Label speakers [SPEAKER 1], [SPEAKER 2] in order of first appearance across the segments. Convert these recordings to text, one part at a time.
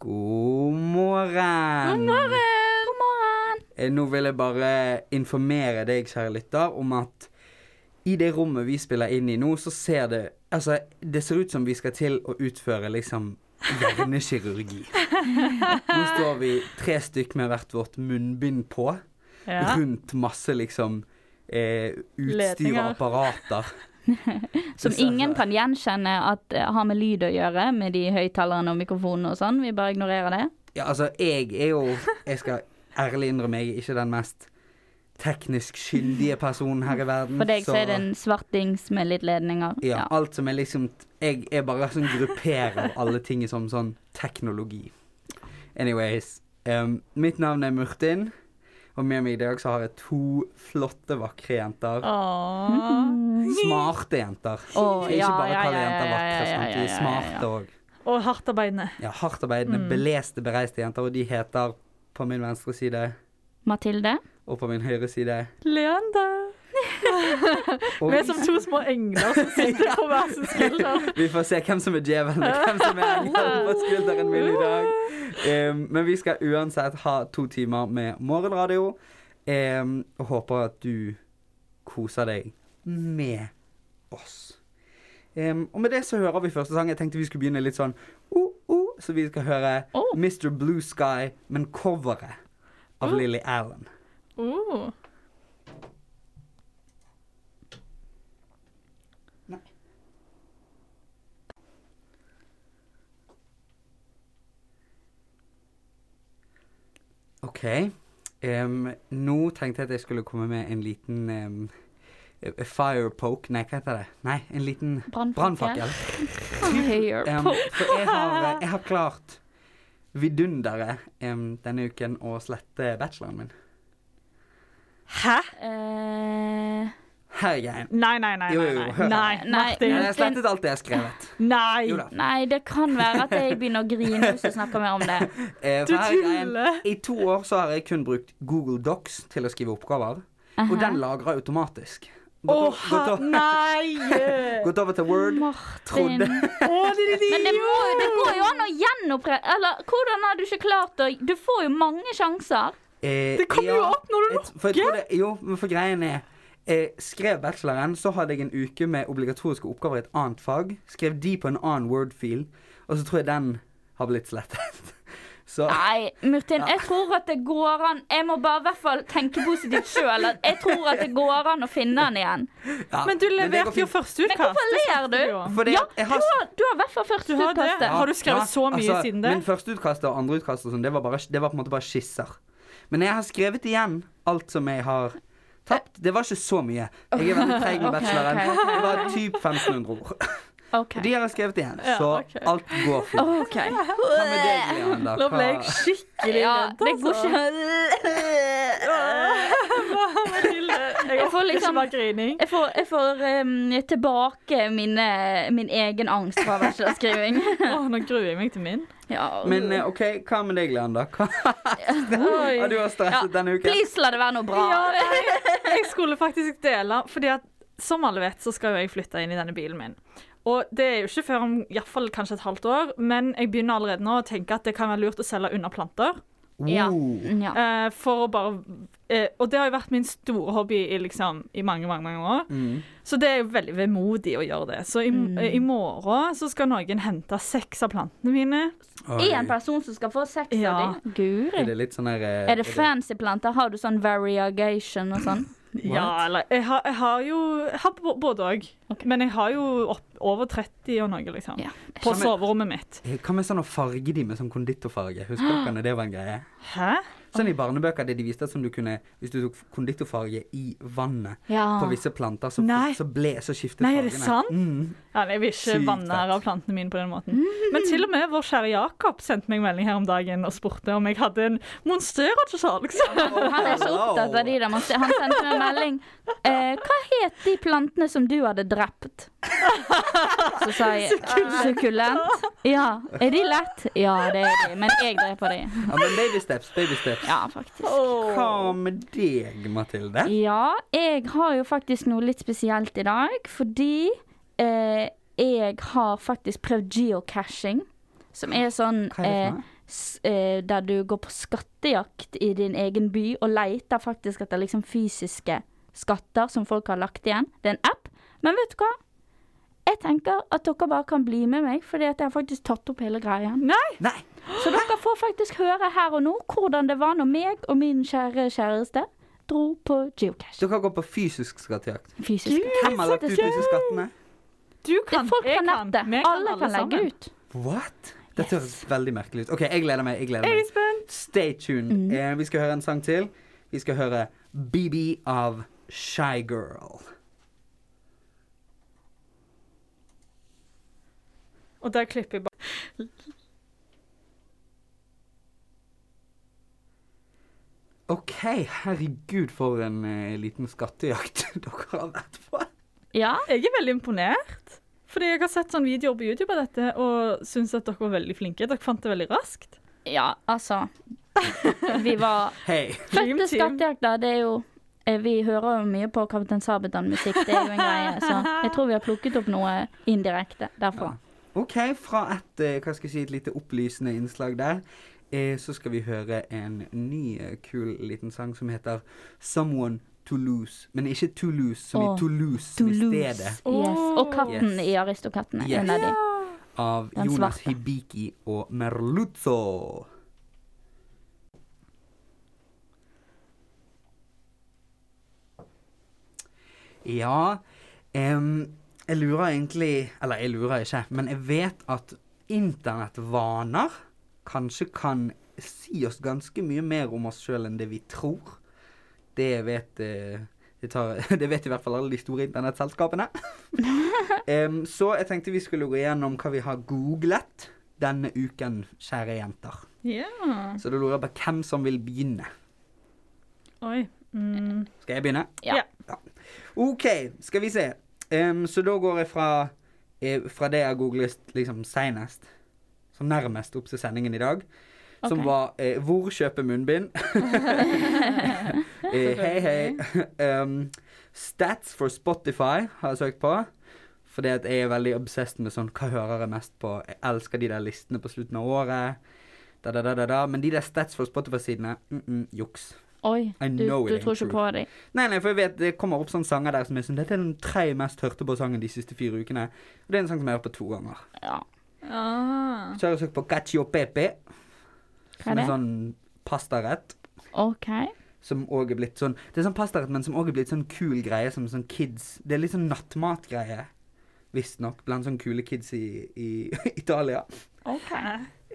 [SPEAKER 1] God morgen.
[SPEAKER 2] morgen! God morgen!
[SPEAKER 1] Eh, Nå vil jeg bare informere deg, kjære lytter, om at i det rommet vi spiller inn i nå, så ser det Altså, det ser ut som vi skal til å utføre liksom hjernekirurgi. Nå står vi tre stykk med hvert vårt munnbind på,
[SPEAKER 2] Ja.
[SPEAKER 1] rundt masse liksom eh, utstyr og
[SPEAKER 2] Ledninger.
[SPEAKER 1] apparater.
[SPEAKER 3] Som
[SPEAKER 1] Det ser
[SPEAKER 3] ingen
[SPEAKER 1] så-
[SPEAKER 3] kan gjenkjenne at eh, har med lyd å gjøre, med de høyttalerne og mikrofonene og sånn. Vi bare ignorerer det.
[SPEAKER 1] Ja, altså, jeg er jo Jeg skal ærlig innrømme, jeg er ikke den mest teknisk skyldige personen her i verden.
[SPEAKER 3] For deg så er det
[SPEAKER 1] så-
[SPEAKER 3] en svartings med litt ledninger.
[SPEAKER 1] ja, alt som er liksom Jeg er bare sånn grupperer alle ting som sånn teknologi. Anyways. em, mitt navn er Murtin, og med meg i dag så har jeg to flotte, vakre jenter.
[SPEAKER 2] Åh.
[SPEAKER 3] Mm.
[SPEAKER 1] Smarte jenter.
[SPEAKER 3] Å,
[SPEAKER 1] ikke
[SPEAKER 3] ja,
[SPEAKER 1] bare
[SPEAKER 3] ja,
[SPEAKER 1] kalle
[SPEAKER 3] ja,
[SPEAKER 1] jenter
[SPEAKER 3] ja, ja,
[SPEAKER 1] vakre,
[SPEAKER 3] ja,
[SPEAKER 1] sant? de
[SPEAKER 3] ja, ja,
[SPEAKER 1] er
[SPEAKER 3] ja. Mm.
[SPEAKER 1] smarte òg.
[SPEAKER 2] Og hardtarbeidende.
[SPEAKER 1] Ja, hardtarbeidende, beleste, bereiste jenter, og de heter på min venstre side
[SPEAKER 3] Mathilde?
[SPEAKER 1] og på min høyre side
[SPEAKER 2] Leander.
[SPEAKER 1] Og
[SPEAKER 2] Vi er som to små engler som sitter på hver sin skulder.
[SPEAKER 1] vi får se hvem som er djevelen og hvem som er engelen på skulderen min i dag. Em, men vi skal uansett ha to timer med morgenradio. em, og håper at du koser deg med oss. Em, og med det så hører vi første sang. Jeg tenkte vi skulle begynne litt sånn oh, oh, Så vi skal høre
[SPEAKER 3] Oh.
[SPEAKER 1] Mr. Blue Sky, men coveret av Lily Allen.
[SPEAKER 2] Oh.
[SPEAKER 1] OK. Em, nå tenkte jeg at jeg skulle komme med en liten em, firepoke Nei, hva heter det? Nei, en liten brannfakkel.
[SPEAKER 3] Høyer.
[SPEAKER 1] Em, for jeg har, eh, jeg har klart vidunderet em, denne uken å slette bacheloren min.
[SPEAKER 2] Hæ?
[SPEAKER 3] Eh,
[SPEAKER 1] Herregud.
[SPEAKER 2] Nei, nei, nei.
[SPEAKER 1] Jo,
[SPEAKER 2] nei,
[SPEAKER 1] jo,
[SPEAKER 2] nei.
[SPEAKER 1] hør her.
[SPEAKER 2] Nei,
[SPEAKER 3] Nei,
[SPEAKER 1] Jeg
[SPEAKER 2] Martin.
[SPEAKER 1] har slettet alt det jeg har skrevet.
[SPEAKER 2] Nei.
[SPEAKER 1] Jo da.
[SPEAKER 3] nei, det kan være at jeg begynner å grine hvis du snakker mer om det.
[SPEAKER 1] Eh,
[SPEAKER 2] Du
[SPEAKER 1] for her er greien.
[SPEAKER 2] tuller.
[SPEAKER 1] I to år så har jeg kun brukt Google Docs til å skrive oppgaver, og den lagrer automatisk.
[SPEAKER 2] Å,
[SPEAKER 1] Gått,
[SPEAKER 2] ha...
[SPEAKER 1] gått, over,
[SPEAKER 2] Nei!
[SPEAKER 1] gått over til Word.
[SPEAKER 3] Martin.
[SPEAKER 1] Trodde
[SPEAKER 2] Å, lille
[SPEAKER 3] Men det, må, det
[SPEAKER 2] idiot!
[SPEAKER 3] går jo an å gjenopprette Eller hvordan har du ikke klart å Du får jo mange sjanser.
[SPEAKER 1] Eh,
[SPEAKER 2] Det kommer jo opp når du
[SPEAKER 1] et- for jeg tror det, Jo, men for greien er eh, Skrev bacheloren, så hadde jeg en uke med obligatoriske oppgaver i et annet fag. Skrev de på en annen Word-fil, og så tror jeg den har blitt slettet. Så
[SPEAKER 3] Nei, Murtin, jeg tror at det går an Jeg må bare i hvert fall tenke positivt sjøl. Jeg tror at det går an å finne den igjen.
[SPEAKER 1] ja,
[SPEAKER 2] Men du
[SPEAKER 1] det går
[SPEAKER 2] leverte jo
[SPEAKER 1] fint.
[SPEAKER 2] førsteutkast.
[SPEAKER 3] Hvorfor
[SPEAKER 2] Det
[SPEAKER 3] ler
[SPEAKER 2] snakker vi
[SPEAKER 3] du?
[SPEAKER 2] om.
[SPEAKER 1] Fordi
[SPEAKER 3] Ja,
[SPEAKER 1] jeg
[SPEAKER 3] du
[SPEAKER 1] har-
[SPEAKER 3] har, du har i hvert fall første
[SPEAKER 2] Du har det?
[SPEAKER 3] utkastet.
[SPEAKER 2] Har du skrevet så mye siden det?
[SPEAKER 1] altså, Min førsteutkast og andreutkast og sånn, det var, bare, det var på en måte bare skisser. Men jeg har skrevet igjen alt som jeg har tapt. Det var ikke så mye. Jeg er veldig treig med
[SPEAKER 3] Ok,
[SPEAKER 1] bacheloren.
[SPEAKER 3] ok, ok.
[SPEAKER 1] Det var typ 1500 ord.
[SPEAKER 3] Ok.
[SPEAKER 1] De har jeg skrevet igjen,
[SPEAKER 2] Ja,
[SPEAKER 1] så
[SPEAKER 2] ok.
[SPEAKER 1] alt går fint.
[SPEAKER 3] Ok.
[SPEAKER 1] Hva med deg, Leander?
[SPEAKER 2] Nå ble jeg
[SPEAKER 1] Hva-
[SPEAKER 2] skikkelig altså.
[SPEAKER 3] Ja,
[SPEAKER 2] redd,
[SPEAKER 3] det går ikke
[SPEAKER 2] Mathilde, jeg
[SPEAKER 3] Jeg får
[SPEAKER 2] orker ikke
[SPEAKER 3] liksom-
[SPEAKER 2] mer grining.
[SPEAKER 3] Jeg får, jeg får em, tilbake mine, min egen angst fra bachelorskriving.
[SPEAKER 2] Åh, nå gruer jeg meg til min.
[SPEAKER 3] Ja.
[SPEAKER 1] Men eh, OK, hva med deg, Leander? Hva har du
[SPEAKER 2] Oi.
[SPEAKER 1] har stresset denne uken?
[SPEAKER 3] Please, la det være noe bra.
[SPEAKER 2] Ja, nei, jeg skulle faktisk dele, fordi at som alle vet, så skal jo jeg flytte inn i denne bilen min. Og det er jo ikke før om i hvert fall kanskje et halvt år, men jeg begynner allerede nå å tenke at det kan være lurt å selge unna planter.
[SPEAKER 3] Ja.
[SPEAKER 1] Oh.
[SPEAKER 3] Ja.
[SPEAKER 2] Eh, for å bare eh, Og det har jo vært min store hobby i, liksom, i mange, mange, mange år.
[SPEAKER 1] Mm.
[SPEAKER 2] Så det er jo veldig vemodig å gjøre det. Så i, i morgen så skal noen hente seks av plantene mine.
[SPEAKER 1] Oi.
[SPEAKER 3] Én person som skal få seks
[SPEAKER 2] Ja.
[SPEAKER 3] av dem?
[SPEAKER 1] Er
[SPEAKER 3] Guri.
[SPEAKER 1] det litt sånn her eh,
[SPEAKER 3] Er det fancy planter? Har du sånn variegation og sånn?
[SPEAKER 2] Ja, eller Jeg har, jeg har jo jeg har b- både òg.
[SPEAKER 3] Ok.
[SPEAKER 2] Men jeg har jo opp, over 30 og noe, liksom.
[SPEAKER 3] Ja.
[SPEAKER 2] På
[SPEAKER 1] Som er-
[SPEAKER 2] soverommet mitt.
[SPEAKER 1] Eh, Hva med sånn å farge de med sånn konditorfarge? Husker dere når det var en greie?
[SPEAKER 2] Hæ?
[SPEAKER 1] Sånn I barnebøker det de viste at som du kunne, hvis du tok konditorfarge i vannet
[SPEAKER 3] Ja.
[SPEAKER 1] på visse planter, så,
[SPEAKER 2] Ah. Nei.
[SPEAKER 1] så, ble, så skiftet
[SPEAKER 2] Nei, er
[SPEAKER 1] fargene.
[SPEAKER 2] det sant?
[SPEAKER 1] Mm.
[SPEAKER 2] Ja, jeg vil ikke
[SPEAKER 1] Sykt
[SPEAKER 2] vanære
[SPEAKER 1] fett.
[SPEAKER 2] plantene mine på den måten. Men til og med vår kjære Jakob sendte meg en melding her om dagen og spurte om jeg hadde en monstera til salgs.
[SPEAKER 3] Han er så opptatt av de der. Man ser- Han sendte meg en melding. Eh, hva het de plantene som du hadde drept? Så sa jeg sukkulent. Ja. Er de lett? Ja, det er de. Men jeg dreper de.
[SPEAKER 1] Ja, men baby steps, baby steps.
[SPEAKER 3] Ja, faktisk.
[SPEAKER 1] Hva med deg, Mathilde?
[SPEAKER 3] Ja, jeg har jo faktisk noe litt spesielt i dag, fordi eh, jeg har faktisk prøvd geocaching. Som er sånn eh,
[SPEAKER 1] Hva er det for noe?
[SPEAKER 3] s- eh, der du går på skattejakt i din egen by og leter faktisk etter liksom fysiske skatter som folk har lagt igjen. Det er en app. Men vet du hva? Jeg tenker at dere bare kan bli med meg, fordi at jeg har faktisk tatt opp hele greia.
[SPEAKER 1] Nei!
[SPEAKER 3] Så dere får faktisk høre her og nå hvordan det var når meg og min kjære kjæreste dro på geocache.
[SPEAKER 1] Dere går på fysisk skattejakt.
[SPEAKER 3] Fysisk.
[SPEAKER 1] Hvem har lagt ut disse skattene?
[SPEAKER 2] Du
[SPEAKER 3] Det
[SPEAKER 2] kan,
[SPEAKER 3] er folk
[SPEAKER 2] jeg
[SPEAKER 3] på
[SPEAKER 2] kan,
[SPEAKER 3] nettet.
[SPEAKER 2] vi
[SPEAKER 3] Alle kan legge
[SPEAKER 2] sammen.
[SPEAKER 3] ut.
[SPEAKER 1] What? Dette høres veldig merkelig ut. OK, jeg gleder meg. jeg gleder
[SPEAKER 2] Jeg er
[SPEAKER 1] meg.
[SPEAKER 2] spent.
[SPEAKER 1] Stay tuned. Eh, vi skal høre en sang til. Vi skal høre BB av Shy Girl.
[SPEAKER 2] Og der klipper jeg bare
[SPEAKER 1] OK, herregud for en eh, liten skattejakt dere har vært på.
[SPEAKER 3] Ja.
[SPEAKER 2] Jeg er veldig imponert. Fordi jeg har sett sånne videoer på YouTube av dette og syns at dere var veldig flinke. Dere fant det veldig raskt.
[SPEAKER 3] Ja, altså. Vi var
[SPEAKER 1] Hei.
[SPEAKER 2] Dream
[SPEAKER 3] Fette
[SPEAKER 2] team.
[SPEAKER 3] skattejakter, det er jo eh, Vi hører jo mye på Kaptein Sabeltann-musikk, det er jo en greie. Så jeg tror vi har plukket opp noe indirekte derfra.
[SPEAKER 1] OK, fra et, eh, hva skal jeg si, et lite opplysende innslag der, eh, så skal vi høre en ny eh, kul liten sang som heter Someone to Lose. Men ikke to lose, som i
[SPEAKER 3] Åh,
[SPEAKER 1] Toulouse, i stedet.
[SPEAKER 3] Yes. Og katten
[SPEAKER 1] Yes.
[SPEAKER 3] i Aristokattene.
[SPEAKER 1] Yes.
[SPEAKER 3] En av de.
[SPEAKER 1] Av
[SPEAKER 3] Den
[SPEAKER 1] Jonas
[SPEAKER 3] svarte.
[SPEAKER 1] Hibiki og Merluzzo. Ja em, Jeg lurer egentlig Eller jeg lurer ikke, men jeg vet at internettvaner kanskje kan si oss ganske mye mer om oss sjøl enn det vi tror. Det vet eh, det, tar, det vet i hvert fall alle de store internettselskapene. Em, så jeg tenkte vi skulle gå gjennom hva vi har googlet denne uken, kjære jenter.
[SPEAKER 2] Ja.
[SPEAKER 1] Så da lurer jeg på hvem som vil begynne.
[SPEAKER 2] Oi. Mm.
[SPEAKER 1] Skal jeg begynne?
[SPEAKER 3] Ja.
[SPEAKER 1] OK, skal vi se. Em, så da går jeg fra, eh, fra det jeg har googlet liksom senest, som nærmest opp til sendingen i dag, som
[SPEAKER 3] Ok.
[SPEAKER 1] var eh, 'Hvor kjøpe munnbind?' eh, hei, hei. Em, stats for Spotify har jeg søkt på. Fordi at jeg er veldig obsessed med sånn Hva hører jeg mest på? Jeg elsker de der listene på slutten av året. Da, da, da, da, da. Men de der stats for Spotify-sidene mm -mm, juks.
[SPEAKER 3] Oi,
[SPEAKER 1] I
[SPEAKER 3] du,
[SPEAKER 1] know it
[SPEAKER 3] du
[SPEAKER 1] ain't
[SPEAKER 3] tror
[SPEAKER 1] true.
[SPEAKER 3] ikke på dem.
[SPEAKER 1] Nei, nei, for jeg vet det kommer opp sånne sanger der som er sånn Dette er den tredje mest hørte på sangen de siste fire ukene. Og det er en sang som jeg har hørt på to ganger.
[SPEAKER 3] Ja.
[SPEAKER 2] Ah.
[SPEAKER 1] Så har jeg søkt på cacio pepe,
[SPEAKER 3] Hva
[SPEAKER 1] som
[SPEAKER 3] er
[SPEAKER 1] er
[SPEAKER 3] det?
[SPEAKER 1] sånn pastarett.
[SPEAKER 3] OK.
[SPEAKER 1] Som også er blitt sånn Det er sånn pastarett, men som også er blitt sånn kul greie som sånn kids Det er litt sånn nattmatgreie, visstnok, blant sånne kule kids i, i Italia.
[SPEAKER 2] OK.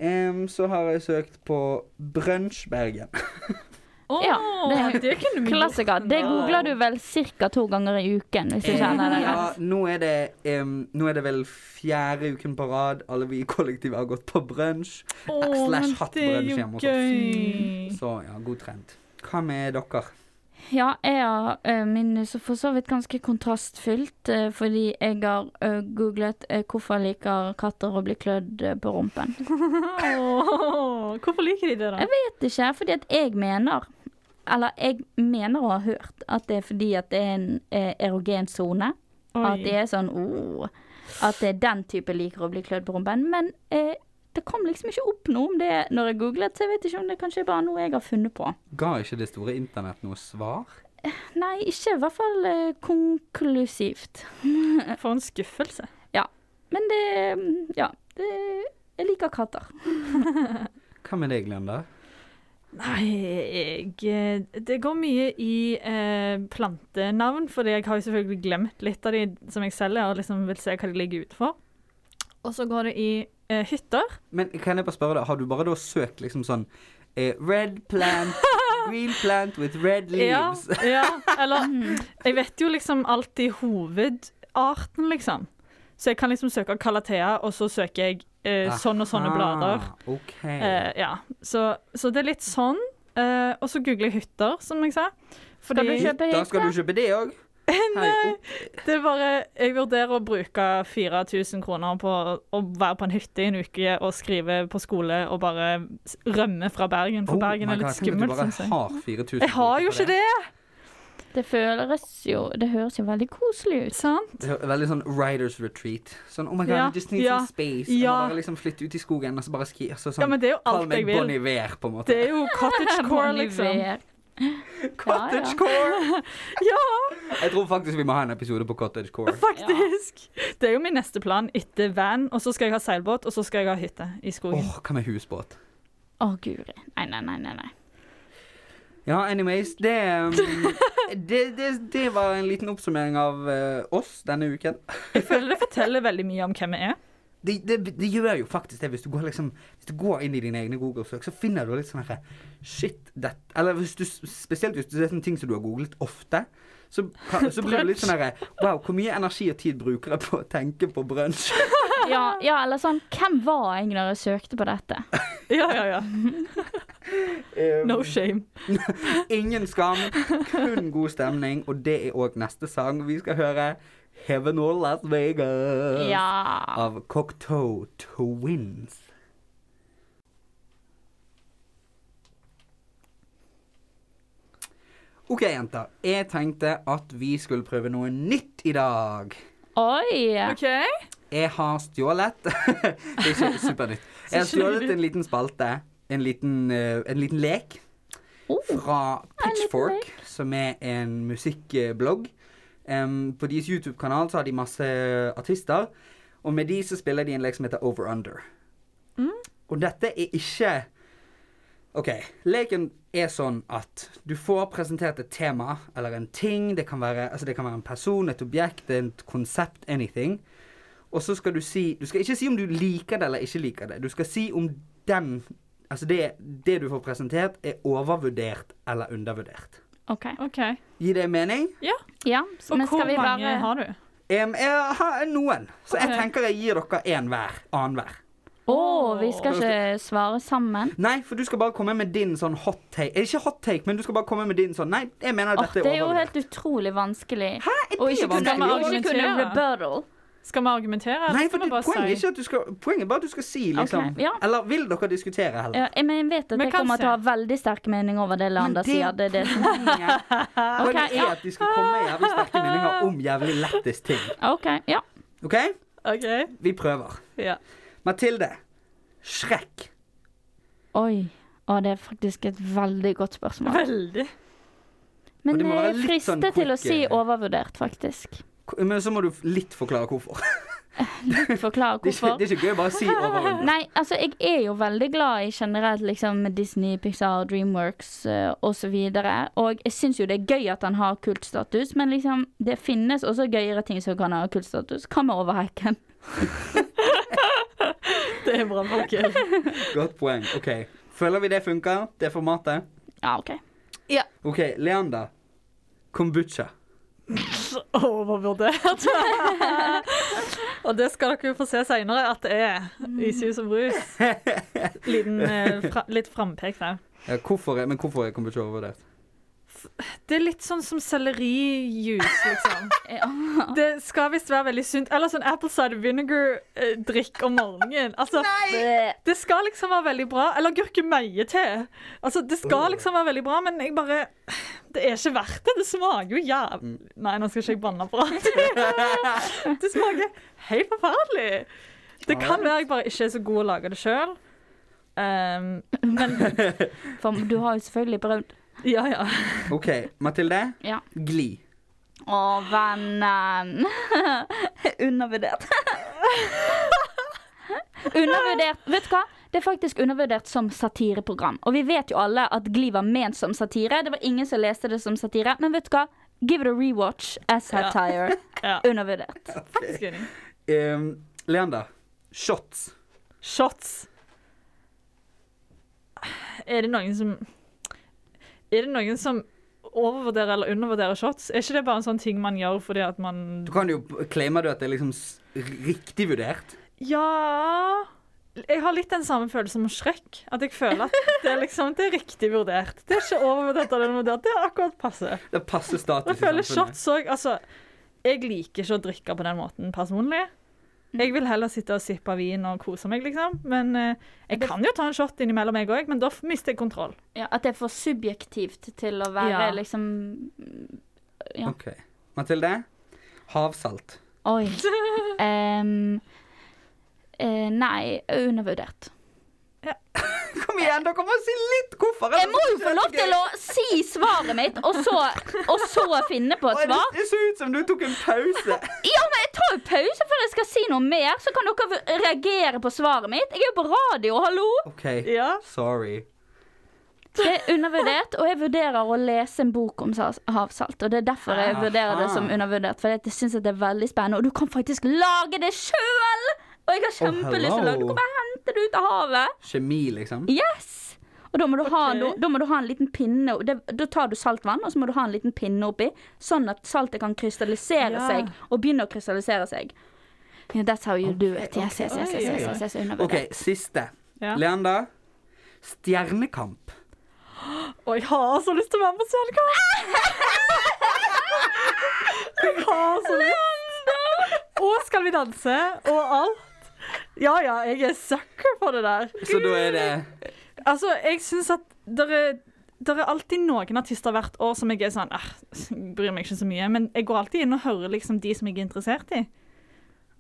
[SPEAKER 1] Em, så har jeg søkt på Brunchbergen.
[SPEAKER 3] Ja, det er
[SPEAKER 2] det kunne vi
[SPEAKER 3] Klassiker. Det googler du vel ca. to ganger i uken, hvis du kjenner det
[SPEAKER 1] ja,
[SPEAKER 3] rett.
[SPEAKER 1] nå, er det, em, nå er det vel fjerde uken på rad alle vi i kollektivet har gått på brunsj. slash hatt på den skjermen hos oss.
[SPEAKER 2] oss.
[SPEAKER 1] Så ja, god trend. Hva med dere?
[SPEAKER 3] Ja, jeg har eh, min så for så vidt ganske kontrastfylt, eh, fordi jeg har eh, googlet eh, 'hvorfor liker katter å bli klødd eh, på rumpen'.
[SPEAKER 2] Hvorfor liker de det, da?
[SPEAKER 3] Jeg vet ikke, fordi at jeg mener Eller jeg mener å ha hørt at det er fordi at det er en eh, erogen sone. At det er sånn oh, At det er den type liker å bli klødd på rumpen. Men eh, det kom liksom ikke opp noe om det når jeg googlet, så jeg vet ikke om det kanskje er bare noe jeg har funnet på.
[SPEAKER 1] Ga ikke det store internett noe svar?
[SPEAKER 3] Nei, ikke i hvert fall eh, konklusivt.
[SPEAKER 2] For en skuffelse.
[SPEAKER 3] Men det mm, Ja. Det, jeg liker katter.
[SPEAKER 1] Hva med deg, Leander?
[SPEAKER 2] Nei, jeg eh, Det går mye i eh, plantenavn, fordi jeg har jo selvfølgelig glemt litt av de som jeg selger, og liksom vil se hva de ligger ute for. Og så går det i eh, hytter.
[SPEAKER 1] Men kan jeg bare spørre deg, har du bare da søkt liksom sånn eh, Red plant, green plant with red
[SPEAKER 2] Ja,
[SPEAKER 1] leaves.
[SPEAKER 2] ja, eller
[SPEAKER 3] Mhm.
[SPEAKER 2] Jeg vet jo liksom alltid hovedarten, liksom. Så jeg kan liksom søke Calathea, og så søker jeg
[SPEAKER 1] Ah,
[SPEAKER 2] eh, sånn og sånne
[SPEAKER 1] Aha,
[SPEAKER 2] blader.
[SPEAKER 1] OK.
[SPEAKER 2] Eh, ja. så, så det er litt sånn. Eh, og så googler jeg hytter, som jeg sa. Fordi
[SPEAKER 3] du kjøpe
[SPEAKER 1] da skal du kjøpe det òg? Nei.
[SPEAKER 2] det er bare Jeg vurderer å bruke 4000 kroner på å være på en hytte i en uke og skrive på skole og bare s-
[SPEAKER 1] Oh,
[SPEAKER 2] rømme fra Bergen, for Bergen er litt skummelt, syns jeg.
[SPEAKER 1] Har 4000
[SPEAKER 2] Jeg har jo
[SPEAKER 1] kroner for
[SPEAKER 2] ikke det!
[SPEAKER 3] Det føles jo Det høres jo veldig koselig ut.
[SPEAKER 2] Sant?
[SPEAKER 1] Det er Veldig sånn writers retreat. Sånn oh my god,
[SPEAKER 2] Ja,
[SPEAKER 1] I just need
[SPEAKER 2] ja,
[SPEAKER 1] some space.
[SPEAKER 2] ja.
[SPEAKER 1] Jeg må bare liksom flytte ut i skogen og så bare ski. Altså, sånn,
[SPEAKER 2] Ja, men det er jo
[SPEAKER 1] Kall
[SPEAKER 2] alt jeg
[SPEAKER 1] meg Bon
[SPEAKER 2] vil.
[SPEAKER 1] Iver, på en måte.
[SPEAKER 2] Det er jo cottagecore,
[SPEAKER 3] Bon
[SPEAKER 2] liksom.
[SPEAKER 3] Iver.
[SPEAKER 1] Cottagecore!
[SPEAKER 2] Ja,
[SPEAKER 1] Jeg tror faktisk vi må ha en episode på cottagecore.
[SPEAKER 2] faktisk. Det er jo min neste plan etter van, og så skal jeg ha seilbåt, og så skal jeg ha hytte i
[SPEAKER 1] Åh,
[SPEAKER 2] skogen.
[SPEAKER 1] hva med husbåt?
[SPEAKER 3] Å, guri. Nei, nei, nei, nei. nei.
[SPEAKER 1] Ja, anyways, det, um, det, det, det var en liten oppsummering av eh, oss denne uken.
[SPEAKER 2] Jeg føler det forteller veldig mye om hvem vi er.
[SPEAKER 1] Det, det, det gjør jo faktisk det. Hvis du, går liksom, hvis du går inn i dine egne Google-søk, så finner du litt sånn herre Shit, det Eller hvis du, spesielt hvis det er sånne ting som du har googlet ofte. Så, kan- så blir det litt sånn herre Wow, hvor mye energi og tid bruker jeg på å tenke på brunsj?
[SPEAKER 3] Ja, ja, eller sånn Hvem var jeg når jeg søkte på dette?
[SPEAKER 2] Ja, ja, ja.
[SPEAKER 1] Um,
[SPEAKER 2] No shame.
[SPEAKER 1] Ingen skam, kun god stemning. Og det er òg neste sang vi skal høre. Heaven or Las Vegas
[SPEAKER 3] Ja.
[SPEAKER 1] av Cocteau Twins. OK, jenter. Jeg tenkte at vi skulle prøve noe nytt i dag.
[SPEAKER 3] Oi.
[SPEAKER 2] OK?
[SPEAKER 1] Jeg har stjålet Det er ikke supernytt. Jeg har stjålet en liten spalte. En liten, eh, en liten lek
[SPEAKER 3] Oh.
[SPEAKER 1] fra
[SPEAKER 3] en liten
[SPEAKER 1] Pitchfork, som er en musikkblogg. Em, på deres YouTube-kanal så har de masse artister, og med de så spiller de en lek som heter Over Under. Og dette er ikke OK. Leken er sånn at du får presentert et tema eller en ting. Det kan være, altså det kan være en person, et objekt, et konsept, anything. Og så skal du si Du skal ikke si om du liker det eller ikke liker det. Du skal si om den Altså det, det du får presentert, er overvurdert eller undervurdert.
[SPEAKER 3] OK.
[SPEAKER 2] OK.
[SPEAKER 1] Gir det mening?
[SPEAKER 2] Ja.
[SPEAKER 3] Ja, så
[SPEAKER 2] Og
[SPEAKER 3] men
[SPEAKER 2] hvor
[SPEAKER 3] skal vi
[SPEAKER 2] mange
[SPEAKER 3] bare
[SPEAKER 2] har du?
[SPEAKER 1] Em, jeg har noen, så jeg
[SPEAKER 2] Ok.
[SPEAKER 1] tenker jeg gir dere én hver. Annenhver.
[SPEAKER 3] Å, vi skal ikke svare sammen?
[SPEAKER 1] Nei, for du skal bare komme med din sånn hot take. Eh, Ikke hot take, men du skal bare komme med din sånn Nei, jeg mener
[SPEAKER 3] Åh,
[SPEAKER 1] dette
[SPEAKER 3] det
[SPEAKER 1] er
[SPEAKER 3] er jo
[SPEAKER 1] overvurdert.
[SPEAKER 3] helt utrolig vanskelig. Hæ?
[SPEAKER 1] Er
[SPEAKER 3] Og
[SPEAKER 1] det
[SPEAKER 3] ikke kunne,
[SPEAKER 1] vanskelig?
[SPEAKER 3] og ikke kunne
[SPEAKER 2] argumentere?
[SPEAKER 3] rebuttal.
[SPEAKER 2] Skal vi argumentere? eller
[SPEAKER 1] Nei,
[SPEAKER 2] skal
[SPEAKER 1] for
[SPEAKER 2] vi
[SPEAKER 1] det,
[SPEAKER 2] bare
[SPEAKER 1] poenget er
[SPEAKER 2] si-
[SPEAKER 1] ikke at du skal Poenget er bare at du skal si, liksom.
[SPEAKER 3] Ok, ja.
[SPEAKER 1] Eller vil dere diskutere heller?
[SPEAKER 3] Ja, jeg- men jeg vet at
[SPEAKER 2] Men
[SPEAKER 3] jeg kommer
[SPEAKER 2] kanskje.
[SPEAKER 3] til å ha veldig sterk mening over det Leander
[SPEAKER 1] det-
[SPEAKER 3] sier. Det er det som
[SPEAKER 1] Poenget Poenget er
[SPEAKER 3] ja.
[SPEAKER 1] at de skal komme med jævlig sterke meninger om jævlig lettest ting.
[SPEAKER 3] OK. Ja.
[SPEAKER 1] OK?
[SPEAKER 2] OK.
[SPEAKER 1] Vi prøver.
[SPEAKER 2] Ja.
[SPEAKER 1] Mathilde. Shrek.
[SPEAKER 3] Oi. Å, det er faktisk et veldig godt spørsmål.
[SPEAKER 2] Veldig.
[SPEAKER 1] Og
[SPEAKER 3] Men
[SPEAKER 1] det må være
[SPEAKER 3] jeg
[SPEAKER 1] litt
[SPEAKER 3] frister
[SPEAKER 1] sånn
[SPEAKER 3] til å
[SPEAKER 1] quick,
[SPEAKER 3] si
[SPEAKER 1] eh,
[SPEAKER 3] overvurdert, faktisk.
[SPEAKER 1] Men så må du litt forklare hvorfor.
[SPEAKER 3] Forklare
[SPEAKER 1] Det er ikke,
[SPEAKER 3] hvorfor.
[SPEAKER 1] det er ikke gøy å bare si overordnet.
[SPEAKER 3] Nei, altså jeg er jo veldig glad i generelt liksom Disney, Pixar, Dreamworks eh, og osv. videre og jeg syns jo det er gøy at han har kultstatus, men liksom det finnes også gøyere ting som kan ha kultstatus. Hva med overhekken?
[SPEAKER 2] Det er bra, folkens.
[SPEAKER 1] Godt poeng. OK. Føler vi det funker, det formatet?
[SPEAKER 3] Ja, OK.
[SPEAKER 1] OK, Leander. Kombucha.
[SPEAKER 2] Overvurdert. og det skal dere jo få se seinere at det er i sus og brus. Liten, eh, fra, litt frampek der.
[SPEAKER 1] Ja, hvorfor er, men hvorfor er kombucha overvurdert?
[SPEAKER 2] Det er litt sånn som sellerijus, liksom.
[SPEAKER 3] Ja.
[SPEAKER 2] Det skal visst være veldig sunt. Eller sånn apple cider vinegar-drikk om morgenen. Altså, det skal liksom være veldig bra. Eller gurkemeie-te. Altså, det skal liksom være veldig bra, men jeg bare Det er ikke verdt det. Det smaker jo jævlig Nei, nå skal ikke jeg banne på alt. Det smaker helt forferdelig. Det kan være jeg bare ikke er så god å lage det sjøl. Um, men
[SPEAKER 3] For du har jo selvfølgelig prøvd.
[SPEAKER 2] ja, ja.
[SPEAKER 1] OK, Mathilde.
[SPEAKER 3] Ja.
[SPEAKER 1] Gli.
[SPEAKER 3] Å, vennen. undervurdert. undervurdert. Vet du hva? Det er faktisk undervurdert som satireprogram. Og vi vet jo alle at Gli var ment som satire. Det var ingen som leste det som satire. Men vet du hva? Give it a rewatch as satire.
[SPEAKER 2] Ja.
[SPEAKER 3] Undervurdert.
[SPEAKER 2] Faktisk enig.
[SPEAKER 1] Um, Leander. Shots.
[SPEAKER 2] Shots. Er det noen som Er det noen som overvurderer eller undervurderer shots? Er ikke det bare en sånn ting man gjør fordi at man
[SPEAKER 1] Du kan jo Claimer du at det er liksom s- riktig vurdert?
[SPEAKER 2] Ja Jeg har litt den samme følelsen med Shrek. At jeg føler at det er liksom Det er riktig vurdert. Det er ikke overvurdert eller undervurdert. Det er akkurat passe.
[SPEAKER 1] Det passer status
[SPEAKER 2] Jeg føler
[SPEAKER 1] i samfunnet.
[SPEAKER 2] shots òg Altså, jeg liker ikke å drikke på den måten personlig. Jeg vil heller sitte og sippe vin og kose meg, liksom. Men eh, jeg kan jo ta en shot innimellom, jeg òg, men da f- mister jeg kontroll.
[SPEAKER 3] Ja, at det er for subjektivt til å være
[SPEAKER 2] Ja.
[SPEAKER 3] liksom Ja.
[SPEAKER 1] OK. Mathilde? Havsalt.
[SPEAKER 3] Oi. Em, eh, nei, undervurdert.
[SPEAKER 1] Kom igjen, dere må si litt hvorfor!
[SPEAKER 3] Jeg må jo få lov til å si svaret mitt, og så, og så finne på et
[SPEAKER 1] Oi,
[SPEAKER 3] svar.
[SPEAKER 1] det- Det så ut som du tok en pause.
[SPEAKER 3] Ja, men jeg tar jo pause før jeg skal si noe mer, så kan dere reagere på svaret mitt. Jeg er jo på radio, hallo!
[SPEAKER 1] OK.
[SPEAKER 2] Ja.
[SPEAKER 1] Sorry.
[SPEAKER 3] Det er undervurdert, og jeg vurderer å lese en bok om sa- havsalt. Og det er derfor jeg
[SPEAKER 1] Aha.
[SPEAKER 3] vurderer det som undervurdert, for jeg syns det er veldig spennende. Og du kan faktisk lage det sjøl! Og jeg har kjempelyst til å lage det.
[SPEAKER 1] hello.
[SPEAKER 3] Du kan bare hente det ut av havet.
[SPEAKER 1] Kjemi, liksom.
[SPEAKER 3] Yes! Og da må, du ha,
[SPEAKER 2] Ok.
[SPEAKER 3] da, da må du ha en liten pinne og det, Da tar du saltvann, og så må du ha en liten pinne oppi, sånn at saltet kan krystallisere
[SPEAKER 2] Ja.
[SPEAKER 3] seg, og begynne å krystallisere seg. Yeah, that's how you do it. Yes, yes, yes. yes, yes,
[SPEAKER 1] Oi, oi, oi.
[SPEAKER 3] yes, yes,
[SPEAKER 1] OK,
[SPEAKER 3] undervurdert.
[SPEAKER 1] siste.
[SPEAKER 2] Ja.
[SPEAKER 1] Leander. Stjernekamp.
[SPEAKER 2] Og jeg har så lyst til å være med på Stjernekamp! Jeg har så lyst. Og Skal vi danse og alt. Ja ja, jeg er sucker på det der.
[SPEAKER 1] Så da er det
[SPEAKER 2] Altså, jeg syns at det er det er alltid noen artister hvert år som jeg er sånn «Ah, Jeg bryr meg ikke så mye. Men jeg går alltid inn og hører liksom de som jeg er interessert i.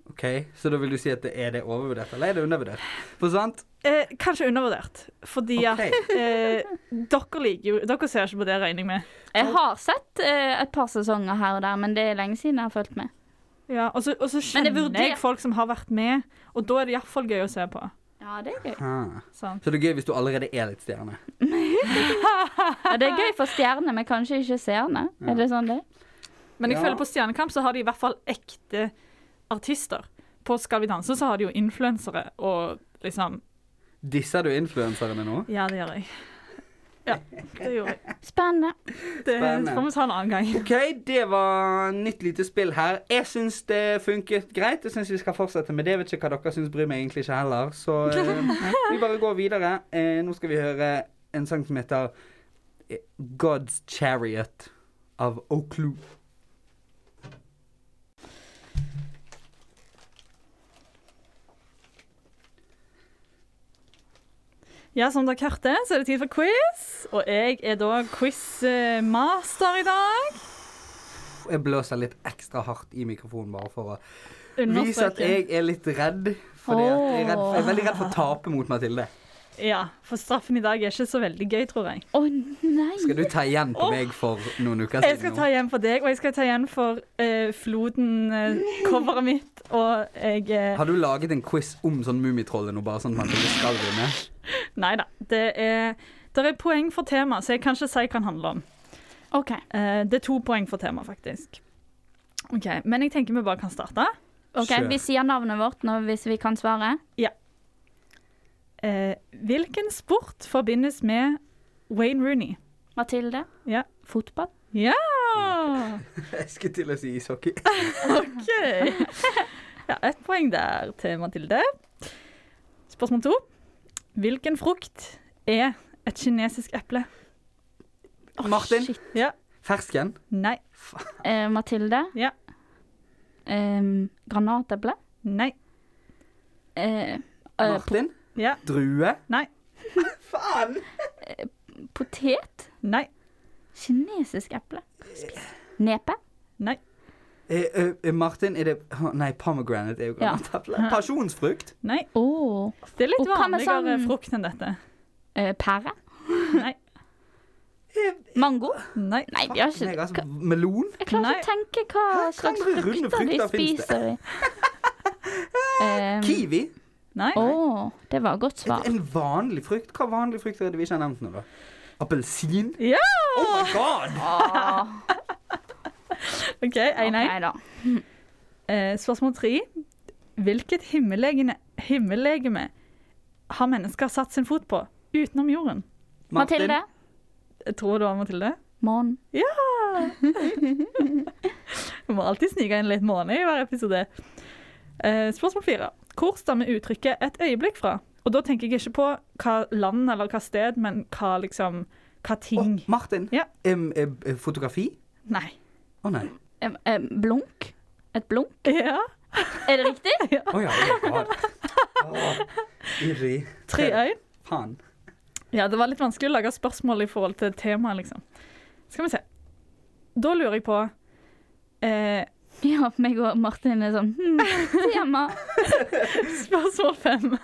[SPEAKER 1] OK, så da vil du si at det er det overvurdert, eller er det undervurdert? For sant?
[SPEAKER 2] Eh, kanskje undervurdert, fordi at
[SPEAKER 1] Ok.
[SPEAKER 2] eh, dere liker jo Dere ser ikke på det, regner jeg med.
[SPEAKER 3] Jeg har sett eh, et par sesonger her og der, men det er lenge siden jeg har fulgt med.
[SPEAKER 2] Ja, og så, og så
[SPEAKER 3] Men det
[SPEAKER 2] kjenner
[SPEAKER 3] er vurdert.
[SPEAKER 2] jeg folk som har vært med, og da er det iallfall gøy å se på.
[SPEAKER 3] Ja, det er gøy.
[SPEAKER 1] Ah.
[SPEAKER 2] Sant?
[SPEAKER 1] Så det er gøy hvis du allerede er litt stjerne.
[SPEAKER 3] Ja, det er gøy for stjernene, men kanskje ikke seerne. Er det sånn det? er?
[SPEAKER 2] Men jeg
[SPEAKER 1] Ja.
[SPEAKER 2] føler på Stjernekamp så har de i hvert fall ekte artister. På Skal vi danse så har de jo influensere og liksom
[SPEAKER 1] Disser du influenserne nå?
[SPEAKER 2] Ja, det gjør jeg. Ja, det gjorde jeg.
[SPEAKER 3] Spennende.
[SPEAKER 2] Det
[SPEAKER 1] Spennende.
[SPEAKER 2] får vi ta en annen gang.
[SPEAKER 1] OK, det var nytt lite spill her. Jeg syns det funket greit. Jeg syns vi skal fortsette med det. Jeg vet ikke hva dere syns, bryr meg egentlig ikke heller. Så eh, vi bare går videre. Eh, nå skal vi høre en sang som heter eh, God's Chariot av Oklu.
[SPEAKER 2] Ja, som dere hørte, så er det tid for quiz. Og jeg er da quizmaster i dag.
[SPEAKER 1] Jeg blåser litt ekstra hardt i mikrofonen bare for å vise at
[SPEAKER 2] Understreken.
[SPEAKER 1] jeg er litt redd. Fordi at jeg, er redd jeg er veldig redd for å tape mot Mathilde.
[SPEAKER 2] Ja, for straffen i dag er ikke så veldig gøy, tror jeg.
[SPEAKER 3] Å nei.
[SPEAKER 1] Skal du ta igjen på meg for noen uker
[SPEAKER 2] Jeg skal
[SPEAKER 1] siden? Altså,
[SPEAKER 2] ta
[SPEAKER 1] nå?
[SPEAKER 2] igjen for deg, og jeg skal ta igjen for eh, Floden-coveret mitt. Og jeg eh,
[SPEAKER 1] Har du laget en quiz om sånn Mummitrollet nå, bare sånn at Mathilde skal vinne?
[SPEAKER 2] Nei da. Det er, der er poeng for tema, så jeg kan ikke si hva den handler om.
[SPEAKER 3] OK.
[SPEAKER 2] Eh, det er to poeng for tema, faktisk. Ok, Men jeg tenker vi bare kan starte.
[SPEAKER 3] ok,
[SPEAKER 1] Kjør.
[SPEAKER 3] Vi sier navnet vårt nå, hvis vi kan svare.
[SPEAKER 2] Eh, hvilken sport forbindes med Wayne Rooney?
[SPEAKER 3] Mathilde.
[SPEAKER 2] Ja.
[SPEAKER 3] Fotball.
[SPEAKER 2] Ja!
[SPEAKER 1] Jeg skulle til å si ishockey.
[SPEAKER 2] OK. Ja, Ett poeng der til Mathilde. Spørsmål to. Hvilken frukt er et kinesisk eple?
[SPEAKER 3] Å,
[SPEAKER 1] Martin.
[SPEAKER 3] shit.
[SPEAKER 2] Ja.
[SPEAKER 1] Fersken.
[SPEAKER 2] Nei.
[SPEAKER 3] Eh, Mathilde.
[SPEAKER 2] Ja.
[SPEAKER 3] Em, granateple.
[SPEAKER 2] Nei.
[SPEAKER 3] Eh, eh, po
[SPEAKER 1] Martin.
[SPEAKER 2] Ja.
[SPEAKER 1] Drue.
[SPEAKER 2] Nei.
[SPEAKER 1] Faen!
[SPEAKER 3] potet.
[SPEAKER 2] Nei.
[SPEAKER 3] Kinesisk eple. Spis. Nepe.
[SPEAKER 2] Nei.
[SPEAKER 1] Eh, eh, eh, Martin, er det Å, Nei, pomegranate er jo
[SPEAKER 3] Ja.
[SPEAKER 1] granateple. Pasjonsfrukt.
[SPEAKER 2] Nei.
[SPEAKER 3] Å.
[SPEAKER 2] Det er litt
[SPEAKER 3] Og hva med
[SPEAKER 2] vanligere
[SPEAKER 3] sånn-
[SPEAKER 2] frukt enn dette.
[SPEAKER 3] Eh, pære.
[SPEAKER 2] Nei.
[SPEAKER 3] Mango.
[SPEAKER 2] Nei.
[SPEAKER 3] Nei, vi har
[SPEAKER 1] Meg,
[SPEAKER 3] ikke
[SPEAKER 1] altså, melon.
[SPEAKER 3] Jeg klarer ikke å tenke hva
[SPEAKER 1] Hæ?
[SPEAKER 3] slags
[SPEAKER 1] Andre runde
[SPEAKER 3] frukter de
[SPEAKER 1] frukter finnes det?
[SPEAKER 3] spiser i. Um,
[SPEAKER 1] Kiwi.
[SPEAKER 2] Nei.
[SPEAKER 3] Å, det var et godt
[SPEAKER 1] Et,
[SPEAKER 3] svar.
[SPEAKER 1] en vanlig frukt. Hva vanlige frukter er det vi ikke har nevnt nå, da? Appelsin.
[SPEAKER 2] Ja!
[SPEAKER 1] Oh my god!
[SPEAKER 3] Åh,
[SPEAKER 2] OK, 1-1.
[SPEAKER 3] ok da.
[SPEAKER 2] Eh, spørsmål tre. Hvilket himmellegene- himmellegeme har mennesker satt sin fot på utenom jorden?
[SPEAKER 1] Martin.
[SPEAKER 3] Mathilde.
[SPEAKER 2] Jeg tror det var Mathilde.
[SPEAKER 3] Månen.
[SPEAKER 2] Vi må alltid snike inn litt måne i hver episode. Eh, spørsmål fire. Hvor stammer uttrykket 'et øyeblikk' fra? Og da tenker jeg ikke på hva land eller hva sted, men hva liksom Hva ting.
[SPEAKER 1] Å, Martin.
[SPEAKER 2] Ja.
[SPEAKER 1] Em, eh, eh, fotografi?
[SPEAKER 2] Nei.
[SPEAKER 1] Å nei.
[SPEAKER 3] Eh, eh, blunk. Et blunk.
[SPEAKER 2] Ja.
[SPEAKER 3] Er det riktig?
[SPEAKER 1] Å ja. Oh my god. Å, Irri.
[SPEAKER 2] Tre øyne.
[SPEAKER 1] Faen.
[SPEAKER 2] Ja, det var litt vanskelig å lage spørsmål i forhold til temaet, liksom. Skal vi se. da lurer jeg på eh,
[SPEAKER 3] Ja, meg og Martin er sånn hm, tema.
[SPEAKER 2] Spørsmål fem.